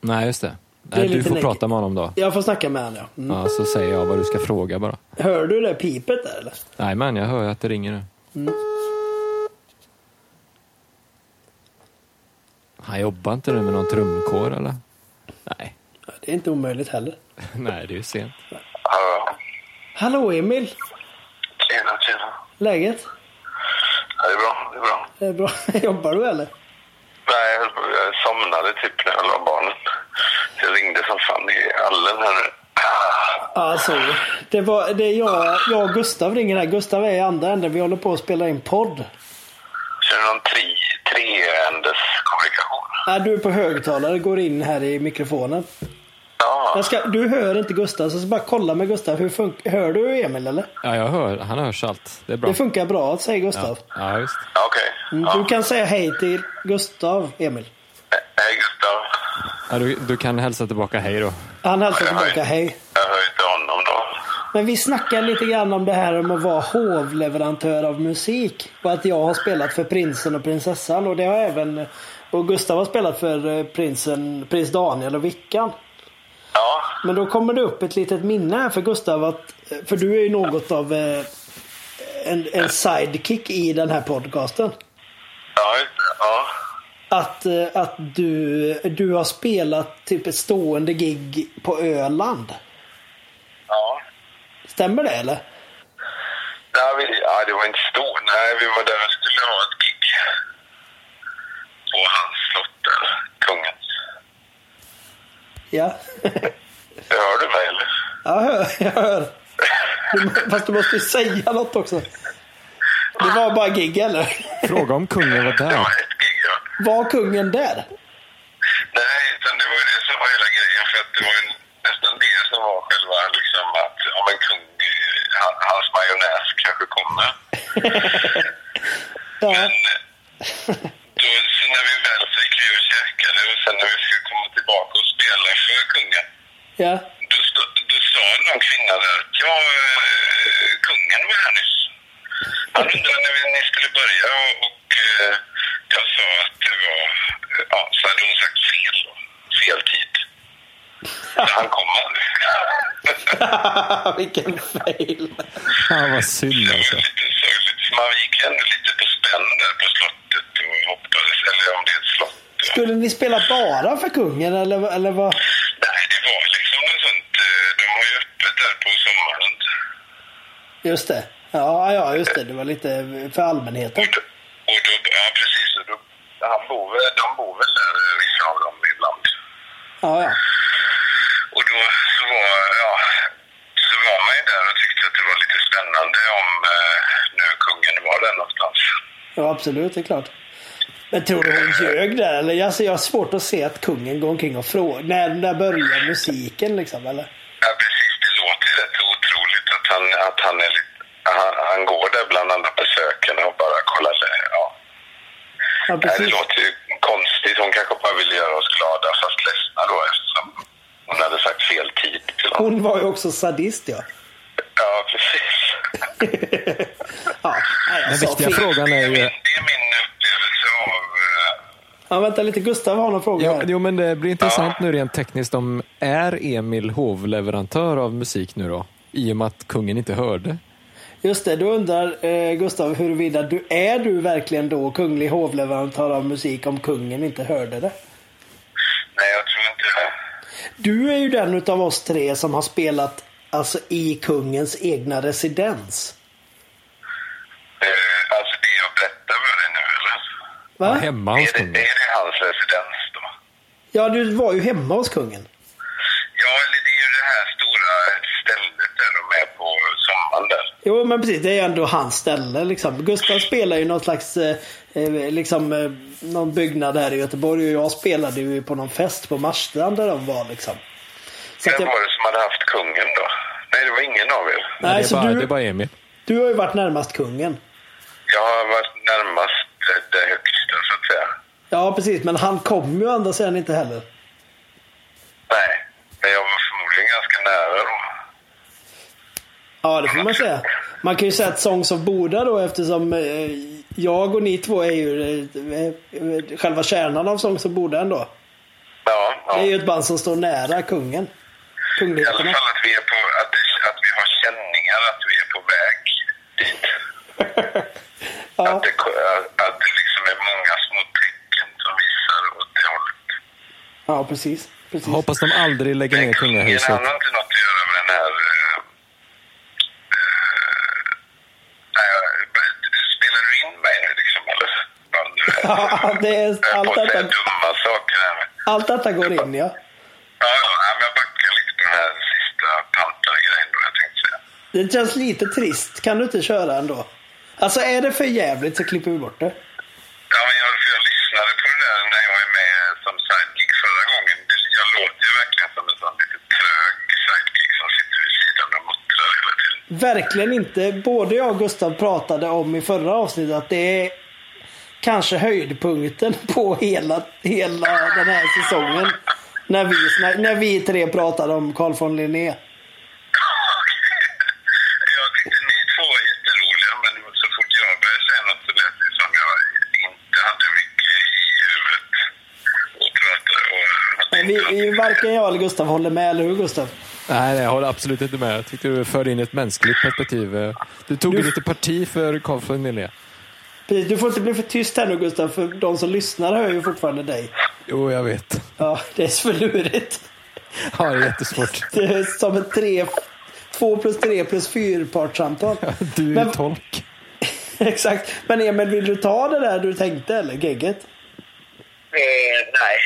Nej, just det.
är
Nej, du
lite
får
neg-
prata med honom då.
Jag får snacka med honom ja. Mm.
Ja, så säger jag vad du ska fråga bara.
Hör du det pipet där eller?
Nej men jag hör ju att det ringer nu.
Mm.
Han jobbar inte nu med någon trumkår eller? Nej.
Ja, Det är inte omöjligt heller.
Nej, det är ju sent.
Hallå.
Hallå Emil!
Tjena, tjena.
Läget?
Ja, det är bra, det är bra.
Det är bra. Jobbar du eller?
Nej, jag, höll på- jag somnade typ när jag la barnen. Så jag ringde som fan i allen här nu.
Ja, sorry. Det, var, det är jag, jag och Gustav ringer här. Gustav är i andra änden. Vi håller på att spela in podd.
Kör du någon tri, treändes kommunikation?
Ja, du är på högtalare. Går in här i mikrofonen.
Ja,
Jag ska, du hör inte Gustav, så jag ska bara kolla med Gustav. Hur fun- hör du Emil eller?
Ja, jag hör. Han hörs allt. Det är bra.
Det funkar bra, säger Gustav.
Ja, visst.
ja, okej.
Mm, Du kan säga hej till Gustav, Emil.
Hej Gustav.
Ja, du, du kan hälsa tillbaka hej då.
Han hälsar tillbaka hej.
Jag hör inte honom då.
Men vi snackar lite grann om det här om att vara hovleverantör av musik. Och att jag har spelat för prinsen och prinsessan. Och det har även... Och Gustav har spelat för eh, prinsen, prins Daniel och Vickan.
Ja,
Men då kommer det upp ett litet minne här för Gustav att... eh, För du är ju något av eh, en, en sidekick i den här podcasten.
ja, just det. Ja.
Att, eh, att du, du har spelat typ ett stående gig på Öland.
ja.
Stämmer det eller?
Nej, vi, ja, det var inte stort. Nej, vi var där och skulle ha ett gig. På hans slott där, kungens.
Ja.
Hör du mig eller?
Jag hör. Jag hör. Du, fast du måste ju säga något också. Det var bara gig eller?
Fråga om kungen var
Det
där.
var ett gig, ja.
Var kungen där?
Nej, utan det var ju det som var hela grejen. För att det var ju nästan det som var själva liksom att om en kung, eh, ha- hans majonnäs kanske kommer.
Ja.
Men eh, då, så när vi väl så gick vi och käkade och sen när vi skulle komma tillbaka och spela för kungen.
Ja.
Då, stå- då sa någon kvinna där att ja, eh, kungen var här nyss. Han undrade när vi- ni skulle börja och, och eh, jag sa att det var, eh, ja, så hade hon sagt fel då. Fel tid. Så han kom aldrig.
Vilken fail.
Fan vad synd
Det
alltså.
var lite sorgligt. för Man gick ändå lite på spänn där på slottet och hoppades, eller om det är ett slott. ja.
Skulle ni spela bara för kungen eller, eller vad?
Nej, det var liksom något sånt. eh, De har ju öppet där på sommaren.
Just det. Ja, ja, just det. Det var lite för allmänheten.
Och då, och då, ja precis. Och då, han bor väl, de bor väl där, eh, vissa av dem ibland.
Ja, ja.
Och då så var, ja, så var man ju där och tyckte att det var lite spännande om eh, nu kungen var där någonstans.
Ja, absolut. Det är klart. Men tror du hon ljög där? Eller? Alltså, jag har svårt att se att kungen går omkring och frågar. När, när börjar musiken liksom? Eller?
Ja precis, det låter ju rätt otroligt att han, att han är lite, han, han går där bland alla besökarna och bara kollar. lä- Ja.
Ja,
Nej, det
precis.
låter ju konstigt. Hon kanske bara ville göra oss glada fast ledsna då eftersom hon hade sagt fel tid till honom.
Hon var ju också sadist ja.
Ja, precis.
ja alltså, nej, jag
Den
sa
viktiga
fel.
frågan är
Det
ju...
är- det är min upplevelse av... eh,
Ja, vänta lite, Gustav har någon fråga
Jo,
här.
jo, men det blir intressant nu rent tekniskt om är Emil hovleverantör av musik nu då? I och med att kungen inte hörde.
Just det, då undrar eh, Gustav huruvida du är du verkligen då kunglig hovleverantör av musik om kungen inte hörde det.
Nej, jag tror inte det.
Du är ju den utav oss tre som har spelat alltså i kungens egna residens.
Eh, Alltså det jag berättar för dig nu, eller?
Ja,
Va?
hemma hos
Är det,
kungen.
är det hans residens då?
Ja, du var ju hemma hos kungen.
Ja, eller det är ju det här stora stället där de är på sommaren där.
Jo, men precis. Det är ändå hans ställe liksom. Gustav spelar ju någon slags, eh, eh, liksom, eh, någon byggnad här i Göteborg och jag spelade ju på någon fest på Marstrand där de var liksom. Så att
Vem
jag,
var det som hade haft kungen då? Nej, det var ingen av er.
Nej,
nej,
det, är
så
bara, det är
du,
bara Emil.
du har ju varit närmast kungen.
Jag har varit närmast det, det högsta, så att säga.
Ja, precis. Men han kom ju å andra sidan inte heller.
Nej, men jag var förmodligen ganska nära då.
Ja, det får man säga. Man kan ju säga att Songs of Boda då eftersom eh, jag och ni två är ju eh, eh, själva kärnan av Songs of Boda ändå.
Ja, ja.
Det är ju ett band som står nära kungen.
I alla
Kungligheterna.
fall att vi, är på, att, att vi har känningar att vi är på väg dit.
Ja.
Att, det, att det liksom är många små tecken som visar åt det hållet.
ja, precis. precis.
Hoppas de aldrig lägger ner
Men
kungahuset.
han har inte något att göra med den här... eh, eh, nej, spelar du in mig nu liksom? Eller?
Ja, det är-
Jag höll på
allt
att säga
detta-
dumma saker här. men-
Allt detta går in, ja.
Ja, ja, men jag backar lite på den här sista Panther-grejen då, jag tänkte säga.
Det känns lite trist. Kan du inte köra ändå? Alltså är det för jävligt så klipper vi bort det.
Ja, men jag, för jag lyssnade på det där när jag är med som sidekick förra gången. Det, jag låter ju verkligen som en sån lite trög sidekick som sitter vid sidan och muttrar hela tiden.
Verkligen inte. Både jag och Gustav pratade om i förra avsnittet att det är kanske höjdpunkten på hela, hela den här säsongen. När vi, snack- när vi tre pratade om Carl von Linné.
Jag tyckte ni två var jätteroliga, men så fort jag började säga något så lät det som jag inte hade mycket i huvudet och prata och...
Men Vi, vi, varken jag eller Gustav håller med, eller hur Gustav?
Nej, nej, jag håller absolut inte med. Jag tyckte du förde in ett mänskligt perspektiv. Du tog lite parti för Carl von Linné.
Precis, Du får inte bli för tyst här nu Gustav, för de som lyssnar hör ju fortfarande dig.
Jo, jag vet.
Ja, det är så lurigt.
Ja, det är jättesvårt.
Det är som ett tre, två plus tre plus fyrpartssamtal.
Du är
Men-
tolk.
Exakt. Men Emil, vill du ta det där du tänkte eller? Gegget?
Eh, nej,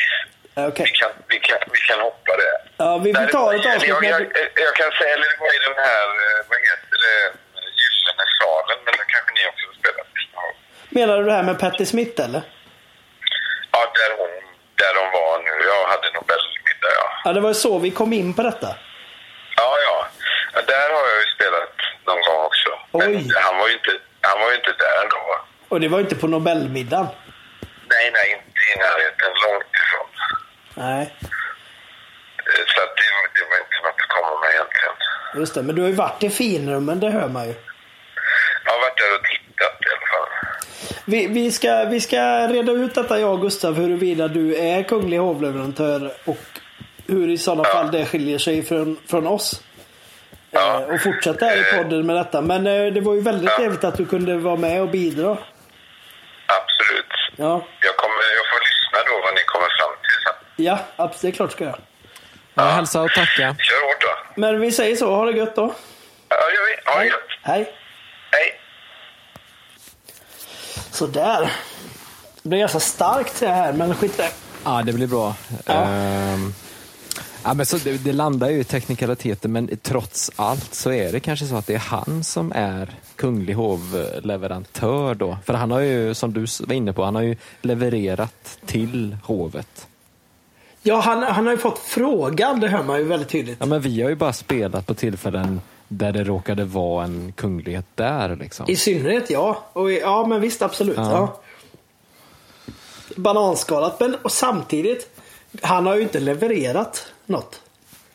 Eh, Okej.
vi kan, vi, kan, vi kan hoppa det.
Ja, vi, vi tar ett avsnitt.
Jag, jag,
när du-
jag kan säga, eller det var i den här, eh, vad heter det, Gyllene salen, men den kanske ni också har spelat? Ja.
Menar du det här med Patti Smith eller?
Ja, där hon, där hon var nu. Jag hade Nobelmiddag, ja.
Ja, det var ju så vi kom in på detta.
Ja, ja. Ja, Där har jag ju spelat någon gång också. Men
Oj.
han var ju inte, han var ju inte där då.
Och det var ju inte på Nobelmiddagen.
Nej, nej, inte i närheten. Långt ifrån.
Nej,
Eh, Så att det, det var inte något att komma med egentligen.
just det. Men du har ju varit i finrummen, det hör man ju.
Jag har varit där och tittat i alla fall.
Vi, vi, ska, vi ska reda ut detta jag och Gustav huruvida du är kunglig hovleverantör och hur i sådana fall det skiljer sig från, från oss.
Ja.
Eh, och fortsätta här i podden med detta. Men eh, det var ju väldigt trevligt att du kunde vara med och bidra.
Absolut.
Ja,
Jag, kommer, jag får lyssna då vad ni kommer fram till sen.
ja abs- det är klart ska jag.
Ja, hälsa och tacka.
Kör hårt då.
Men vi säger så, ha det gött då.
Ja, det gör vi. Ha det gött.
Hej.
Hej.
Sådär. Det blir ganska starkt det här, men skit i det.
Ja, det blir bra.
Ja.
Ehm, ja, men så det, det landar ju i teknikaliteter, men trots allt så är det kanske så att det är han som är kunglig hovleverantör då. För han har ju, som du var inne på, han har ju levererat till hovet.
Ja, han, han har ju fått frågan, det hör man ju väldigt tydligt.
Ja, men vi har ju bara spelat på tillfällen där det råkade vara en kunglighet där liksom.
I synnerhet ja. Och, i- ja, men visst absolut. Ja.
Ja.
Bananskalat, men och samtidigt. Han har ju inte levererat något.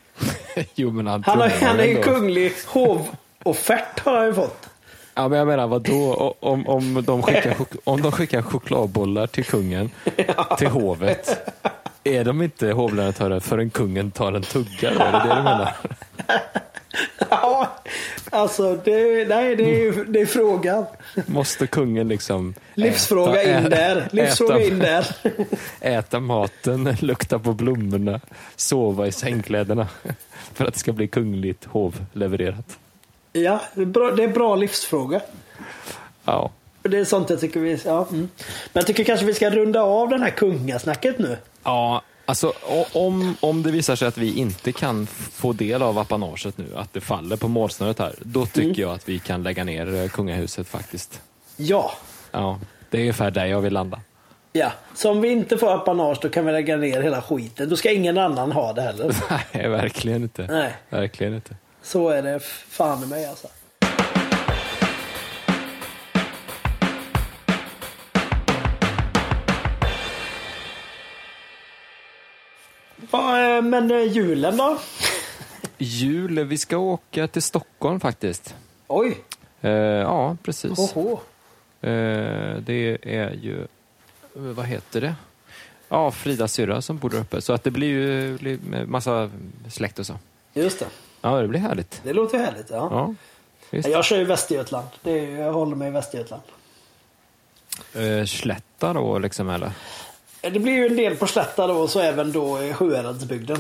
jo, men han,
Han, har,
trumnar
han är ju
ändå.
kunglig hovoffert har han ju fått.
Ja, men jag menar vadå? O- Om, om, de skickar, chok- om de skickar chokladbollar till kungen, till hovet, är de inte hovleverantörer förrän kungen tar en tugga? Då? Är det det du menar?
Ja, alltså det, nej, det, är, ju- det är frågan.
Måste kungen liksom...
Livsfråga
äta-
in
ä-
där. Livsfråga
äta,
in där.
Äta maten, lukta på blommorna, sova i sängkläderna för att det ska bli kungligt hovlevererat.
Ja, det är bra, det är bra livsfråga.
Ja.
Det är sånt jag tycker vi... Ja, mm. Men jag tycker kanske vi ska runda av den här kungasnacket nu.
Ja, alltså o- om, om det visar sig att vi inte kan f- få del av apanaget nu, att det faller på målsnöret här, då tycker
Mm.
jag att vi kan lägga ner eh, kungahuset faktiskt.
Ja.
Ja, det är ungefär där jag vill landa.
Ja, så om vi inte får apanage då kan vi lägga ner hela skiten. Då ska ingen annan ha det heller.
Nej, verkligen inte.
Nej.
Verkligen inte.
Så är det f- fan i mig alltså. Ja, eh, men eh, julen då?
Jul, vi ska åka till Stockholm faktiskt.
Oj,
Eh, ja, precis.
oho.
Eh, det är ju, vad eh, heter det? Ja, Fridas syrra som bor där uppe. Så att det blir ju blir massa släkt och så.
Just det.
Ja, det blir härligt.
Det låter ju härligt. Ja.
Ja, just
Jag kör ju Västergötland. Det är, ju- jag håller mig i Västergötland.
det. Eh, Slätta då liksom eller?
Det blir ju en del på Slätta då och så även då i Sjuhäradsbygden.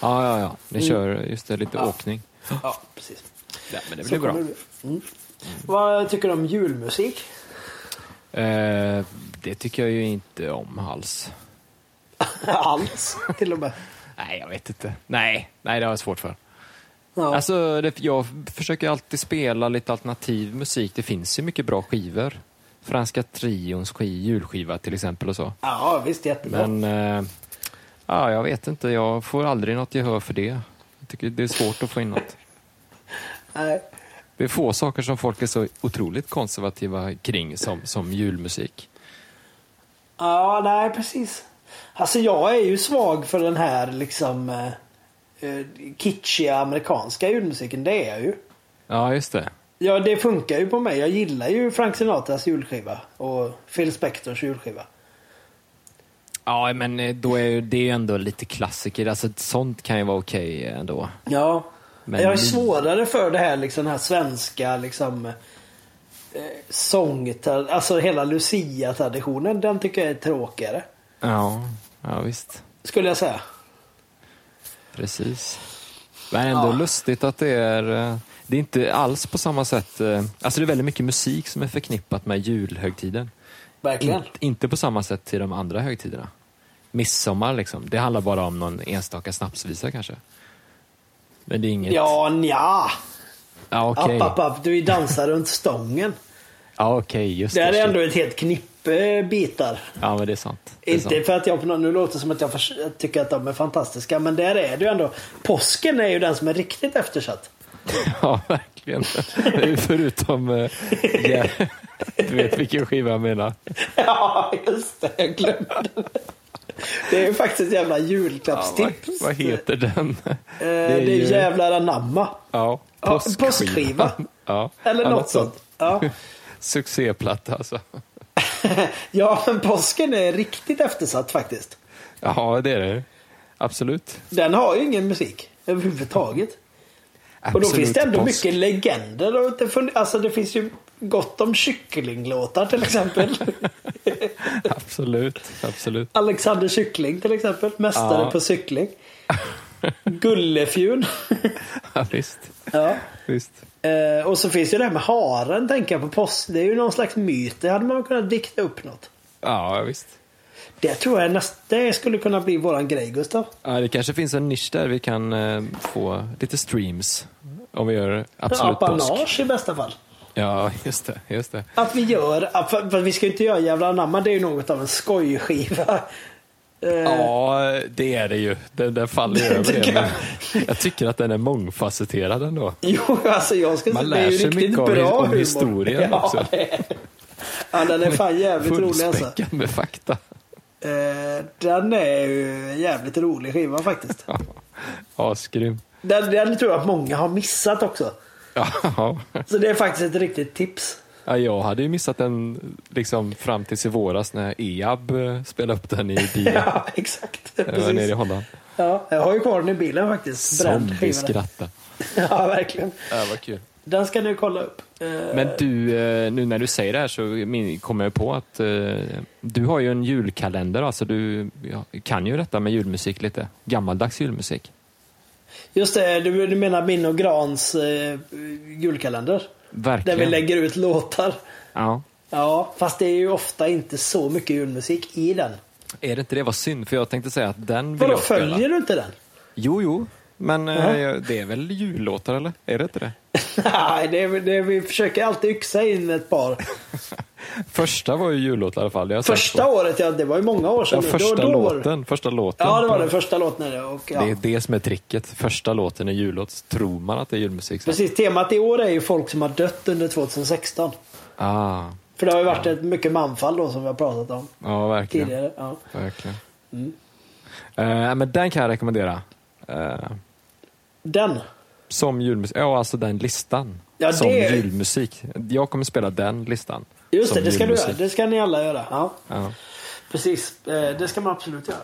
Ja, ja, ja. Ni kör just det, lite åkning.
Ja, precis.
Ja, men det
Så
blir bra.
kommer det- Mm. Vad tycker du om julmusik?
Eh, det tycker jag ju inte om alls.
Alls, till och med.
Nej, jag vet inte. Nej, nej det har jag svårt för.
Ja.
Alltså, det, jag försöker alltid spela lite alternativ musik. Det finns ju mycket bra skivor. Franska Trions sk- julskiva till exempel och så.
ja, visst jättebra.
Men eh, ja, jag vet inte, jag får aldrig något gehör för det. Jag tycker det är svårt att få in något.
Nej.
Det är få saker som folk är så otroligt konservativa kring som, som julmusik.
Ja, nej precis. Alltså jag är ju svag för den här liksom eh, eh, kitschiga amerikanska julmusiken. Det är jag ju.
Ja, just det.
Ja, det funkar ju på mig. Jag gillar ju Frank Sinatras julskiva och Phil Spectors julskiva.
Ja, men eh, då är ju- det är ju ändå lite klassiker. Alltså, sånt kan ju vara okej eh, ändå.
Ja.
Men
jag är
vi-
svårare för det här liksom den här svenska liksom eh, sång, alltså hela Lucia-traditionen. Den tycker jag är tråkigare.
Ja, ja visst.
Skulle jag säga.
Precis. Men ändå
Ja.
lustigt att det är... eh, Det är inte alls på samma sätt... eh, Alltså det är väldigt mycket musik som är förknippat med julhögtiden.
Verkligen.
Inte- inte på samma sätt till de andra högtiderna. Midsommar liksom. Det handlar bara om någon enstaka snapsvisa kanske. Men det är inget...
Ja, nja. Ah,
ja okej.
App, app, app. Du dansar runt stången.
Ja, okej, just
Det
det.
här är
shit.
ändå ett helt knippe bitar.
Ja, men det är sant. Det är sant.
Inte för att jag på något, nu låter det som att jag förs- jag tycker att de är fantastiska, men där är det ju ändå. Påsken är ju den som är riktigt eftersatt.
Ja, verkligen. Förutom... eh, ja, du vet vilken skiva jag menar.
Ja, just det. Jag glömde det. Det är ju faktiskt ett jävla
Ja, vad,
julklappstips.
vad heter den?
Eh, det är
ju-
jävlar anamma.
Ja,
Ja, påskskiva.
Ja,
Eller
ja,
något sånt. Ja.
Succéplatta alltså.
ja, men påsken är riktigt eftersatt faktiskt.
Ja, det är det. Absolut.
Den har ju ingen musik överhuvudtaget. Och då
Absolut
finns det ändå
påsk.
mycket legender. Och det, fun- alltså det finns ju gott om kycklinglåtar till exempel.
Absolut, absolut.
Alexander Kyckling till exempel. Mästare
Ja.
på cykling. Gullefjun.
Ja, visst.
ja.
visst.
eh, och så finns ju det här med haren tänker jag på post. Det är ju någon slags myt. Det hade man kunnat dikta upp något.
Ja, visst.
Det tror jag nästa, det skulle kunna bli våran grej Gustav.
Ja, det kanske finns en nisch där vi kan eh, få lite streams. Om vi gör Absolut påsk.
Apanage i bästa fall.
Ja, just det. Just det.
Att vi gör, att- för, för vi ska ju inte göra jävla anamma. Det är ju något av en skojskiva. Eh,
Ja, det är det ju. Den, den faller ju över det. Men jag tycker att den är mångfacetterad ändå.
Jo, alltså jag ska
Man
säga, det är
lär
ju
sig
riktigt bra
mycket om, hi- om
humor.
historien
ja,
också.
det är det. Ja, den är fan jävligt rolig alltså.
Fullspäckad med fakta.
Eh, den är ju en jävligt rolig skiva faktiskt.
Asgrym.
Den, den tror jag att många har missat också.
Ja.
Så det är faktiskt ett riktigt tips.
ja, jag hade ju missat den liksom fram tills i våras när EAB eh, spelade upp den i bilen.
Ja, exakt.
Jag var nere i
Precis.
Holland.
Ja, jag har ju kvar den i bilen faktiskt. Bränd
Som
skiva. där.
vi skrattade.
Ja, verkligen.
Ja, vad kul.
Den ska du kolla upp. Eh,
Men du, eh, nu när du säger det här så min- kommer jag på att eh, du har ju en julkalender, alltså du ja, kan ju detta med julmusik lite. Gammaldags julmusik.
Just det, du, du menar min och Grans eh, julkalender? Där
Verkligen.
vi lägger ut låtar.
Ja.
Ja, fast det är ju ofta inte så mycket julmusik i den.
Är det inte det? Vad synd, för jag tänkte säga att den vill
Vadå,
jag spela.
följer du inte den?
Jo, jo. Men eh,
Jaha.
jag- det är väl jullåtar, eller? Är det inte det?
Nej, det, är- det, är- vi försöker alltid yxa in ett par.
Första var ju jullåt i alla fall. det har jag sagt
Första
på.
året, ja, det var ju många år sedan.
ja,
nu.
första
Då- då var det-
låten. Första låten.
Ja, det var den första låten. är det, Och, ja.
Det är det som är tricket. Första låten är jullåt, så tror man att det är julmusik. sen.
Precis, temat i år är ju folk som har dött under 2016.
Ah,
För det har ju varit ett mycket manfall då som vi har pratat om
ja, verkligen.
tidigare. Ja.
verkligen.
Mm.
Eh, men den kan jag rekommendera. Eh,
Den.
som julmusik. Ja, alltså den listan.
Ja,
som
det är-
julmusik. Jag kommer spela den listan.
Just
som
det, det ska du göra.
julmusik.
Det ska ni alla göra. Ja.
Ja.
Precis, eh, det ska man absolut göra.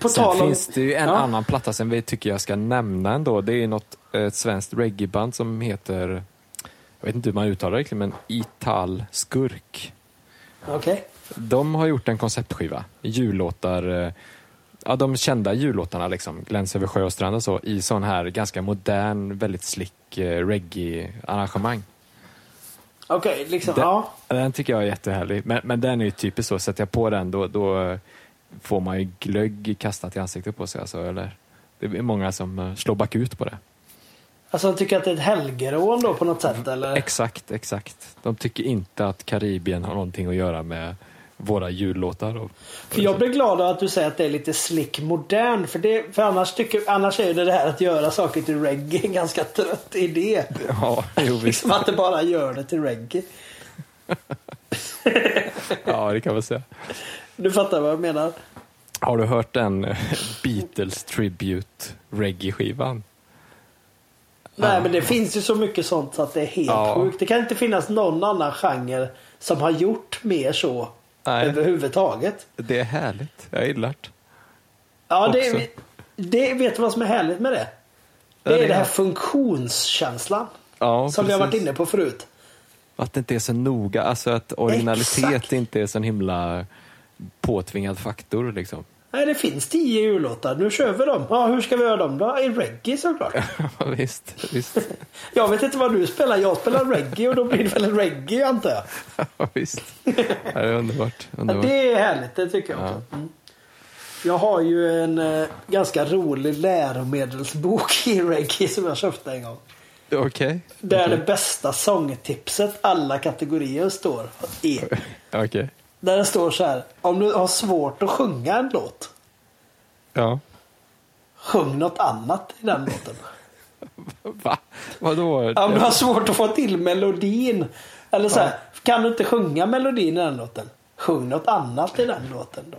På
Sen
om-
finns det ju en
Ja.
annan platta som vi tycker jag ska nämna ändå. Det är något eh, ett svenskt reggaeband som heter, jag vet inte hur man uttalar det riktigt, men Ital Skurk.
Okej.
De har gjort en konceptskiva, jullåtar, eh, ja de kända jullåtarna liksom, Gläns över sjö och strand och så, i sån här ganska modern, väldigt slick eh, reggae-arrangemang.
Okej, liksom,
Den,
ja.
den tycker jag är jättehärlig. Men, men den är ju typisk så. Sätter jag på den då, då får man ju glögg kastat i ansiktet på sig. Alltså, eller? Det är många som eh, slår bakut på det.
Alltså han tycker att det är ett helgerån då på något sätt eller?
Mm. Exakt, exakt. De tycker inte att Karibien har någonting att göra med våra jullåtar. Och,
För jag blir glad av att du säger att det är lite slick modern. För, det, för annars, tycker, annars är ju det här att göra saker till reggae en ganska trött idé.
Ja, jo, visst.
Liksom att det bara gör det till reggae.
ja, det kan man säga.
Du fattar vad jag menar?
Har du hört den eh, Beatles Tribute Reggae-skivan?
Nej men det finns ju så mycket sånt så att det är helt
Ja.
sjukt. Det kan inte finnas någon annan genre som har gjort mer så
Nej.
överhuvudtaget.
Det är härligt. Jag gillar det.
Ja,
Också.
det, det, vet du vad som är härligt med det? Det
Ja, det
är
är-
den här funktionskänslan.
Ja,
som vi har varit
precis.
inne på förut.
Att det inte är så noga, alltså att originalitet
Exakt.
inte är så himla påtvingad faktor liksom.
Nej, det finns tio jullåtar. Nu kör vi dem. Ja, hur ska vi göra dem då? I reggae såklart.
Ja, visst, visst.
Jag vet inte vad du spelar. Jag spelar reggae och då blir det väl reggae antar jag.
Ja, visst. Ja, det är underbart.
Ja,
underbart.
det är härligt, det tycker jag också. Mm. Jag har ju en eh, ganska rolig läromedelsbok i reggae som jag köpte en gång.
Okej.
Där det bästa sångtipset alla kategorier står i.
Okej.
Där det står så här. Om du har svårt att sjunga en låt,
Ja.
sjung något annat i den låten.
Va? Vadå?
Ja, men du har svårt att få till melodin. Eller så här, kan du inte sjunga melodin i den låten? Sjung något annat i den låten då.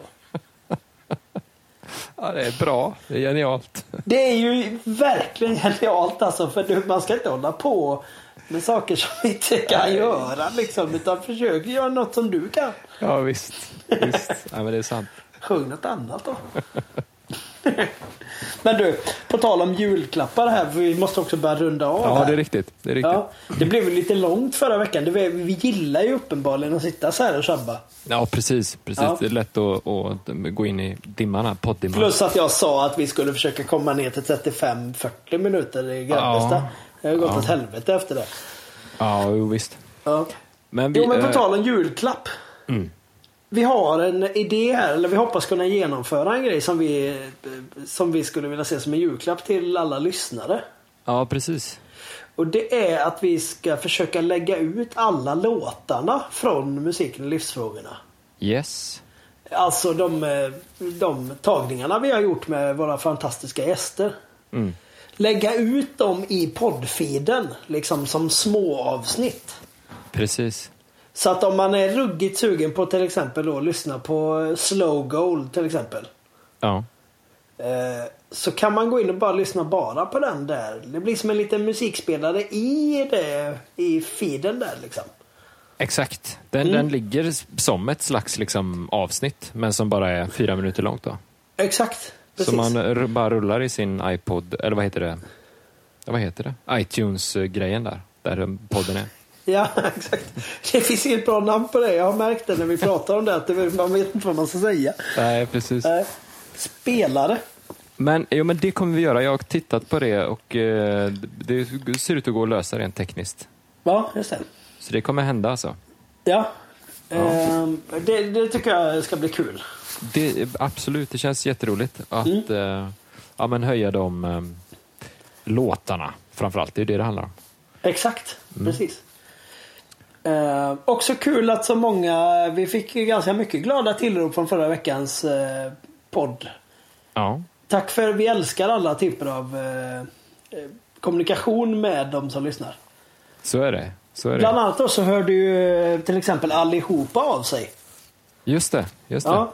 Ja, det är bra. Det är genialt.
Det är ju verkligen genialt alltså. För du, man ska inte hålla på med saker som vi inte kan göra liksom. Utan försök göra något som du kan.
Ja, visst. visst. Ja, men det är sant.
Sjung något annat då. men du, på tal om julklappar här. för Vi måste också börja runda av
Ja,
här.
det är riktigt. Det är riktigt.
Ja, det blev ju lite långt förra veckan. Det, var- vi gillar ju uppenbarligen att sitta så här och tjabba.
Ja, precis. precis.
Ja.
Det är lätt att, att gå in i dimman här, poddimman.
Plus att jag sa att vi skulle försöka komma ner till 35-40 minuter i Grebbestad.
Ja.
Det har gått
Ja.
åt helvete efter det.
Ja, jo, visst.
Ja.
Men vi,
Jo, men på
eh, Mm.
tal om julklapp. Vi har en idé här, eller vi hoppas kunna genomföra en grej som vi, eh, som vi skulle vilja se som en julklapp till alla lyssnare.
Ja, precis.
Och det är att vi ska försöka lägga ut alla låtarna från Musiken och livsfrågorna.
Yes.
Alltså de, eh, de tagningarna vi har gjort med våra fantastiska gäster.
Mm.
Lägga ut dem i poddfeeden, liksom som små avsnitt.
Precis.
Så att om man är ruggigt sugen på till exempel då, att lyssna på Slow Gold till exempel.
Ja.
eh, Så kan man gå in och bara lyssna bara på den där. Det blir som en liten musikspelare i det, i feeden där liksom.
Exakt. Den,
Mm.
den ligger s- som ett slags liksom, avsnitt, men som bara är fyra minuter långt. Då.
Exakt. Precis.
Så man r- bara rullar i sin iPod, eller vad heter det? Ja, Vad heter det? iTunes-grejen där, där den podden är.
Ja, exakt. Det finns inget bra namn på det. Jag har märkt det när vi pratar om det. Att det- man vet inte vad man ska säga.
Nej, precis.
Nej. Spelare.
Men, jo, men det kommer vi göra. Jag har tittat på det och eh, det det ser ut att gå att lösa rent tekniskt.
Ja, just det.
Så det kommer hända alltså.
Ja. Ehm, det, det tycker jag ska bli kul.
Det, absolut, det känns jätteroligt att
Mm.
eh, ja, men höja de eh, låtarna framförallt. Det är ju det det handlar om.
Exakt, precis. Ehm, också kul att så många, vi fick ju ganska mycket glada tillrop från förra veckans eh, podd.
Ja,
Tack för, vi älskar alla typer av eh, eh, kommunikation med de som lyssnar.
så är det. Så är det.
Bland annat då så hörde ju eh, till exempel allihopa av sig.
Just det. Just det.
Ja.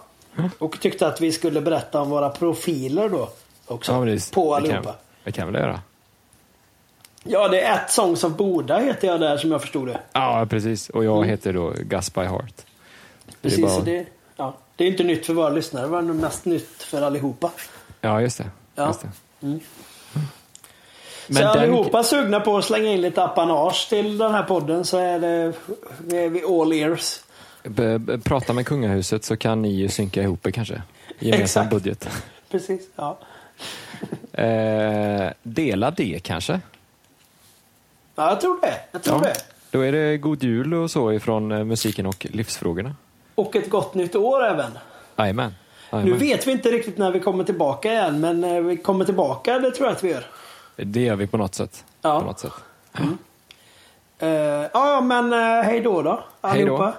Och tyckte att vi skulle berätta om våra profiler då. Också.
Ja, men det-
på
det
allihopa.
Kan, det kan väl göra.
Ja, det är ett sång som Boda heter jag där som jag förstod det.
Ja, precis. Och jag heter då Gus by Heart.
Mm. Precis,
det är
så
bara
det... Ja. Det är inte nytt för våra lyssnare, det var nog mest nytt för allihopa.
Ja, just det.
Ja.
Just det.
Mm.
Men
så är
den-
allihopa sugna på att slänga in lite apanage till den här podden så är det, vi är vi all ears.
B- b- Prata med kungahuset så kan ni ju synka ihop er kanske. Gemensam
Exakt.
budget.
Precis, ja.
Eh, dela det kanske.
Ja, jag tror det. Jag tror det.
Då är det god jul och så ifrån eh, musiken och livsfrågorna.
Och ett gott nytt år även.
Jajamän.
Nu
Jajamän.
vet vi inte riktigt när vi kommer tillbaka igen, men eh, vi kommer tillbaka, det tror jag att vi gör.
Det gör vi på något sätt.
Ja.
På något sätt.
Eh, Ja, men eh, hej då då,
Hej då.
allihopa.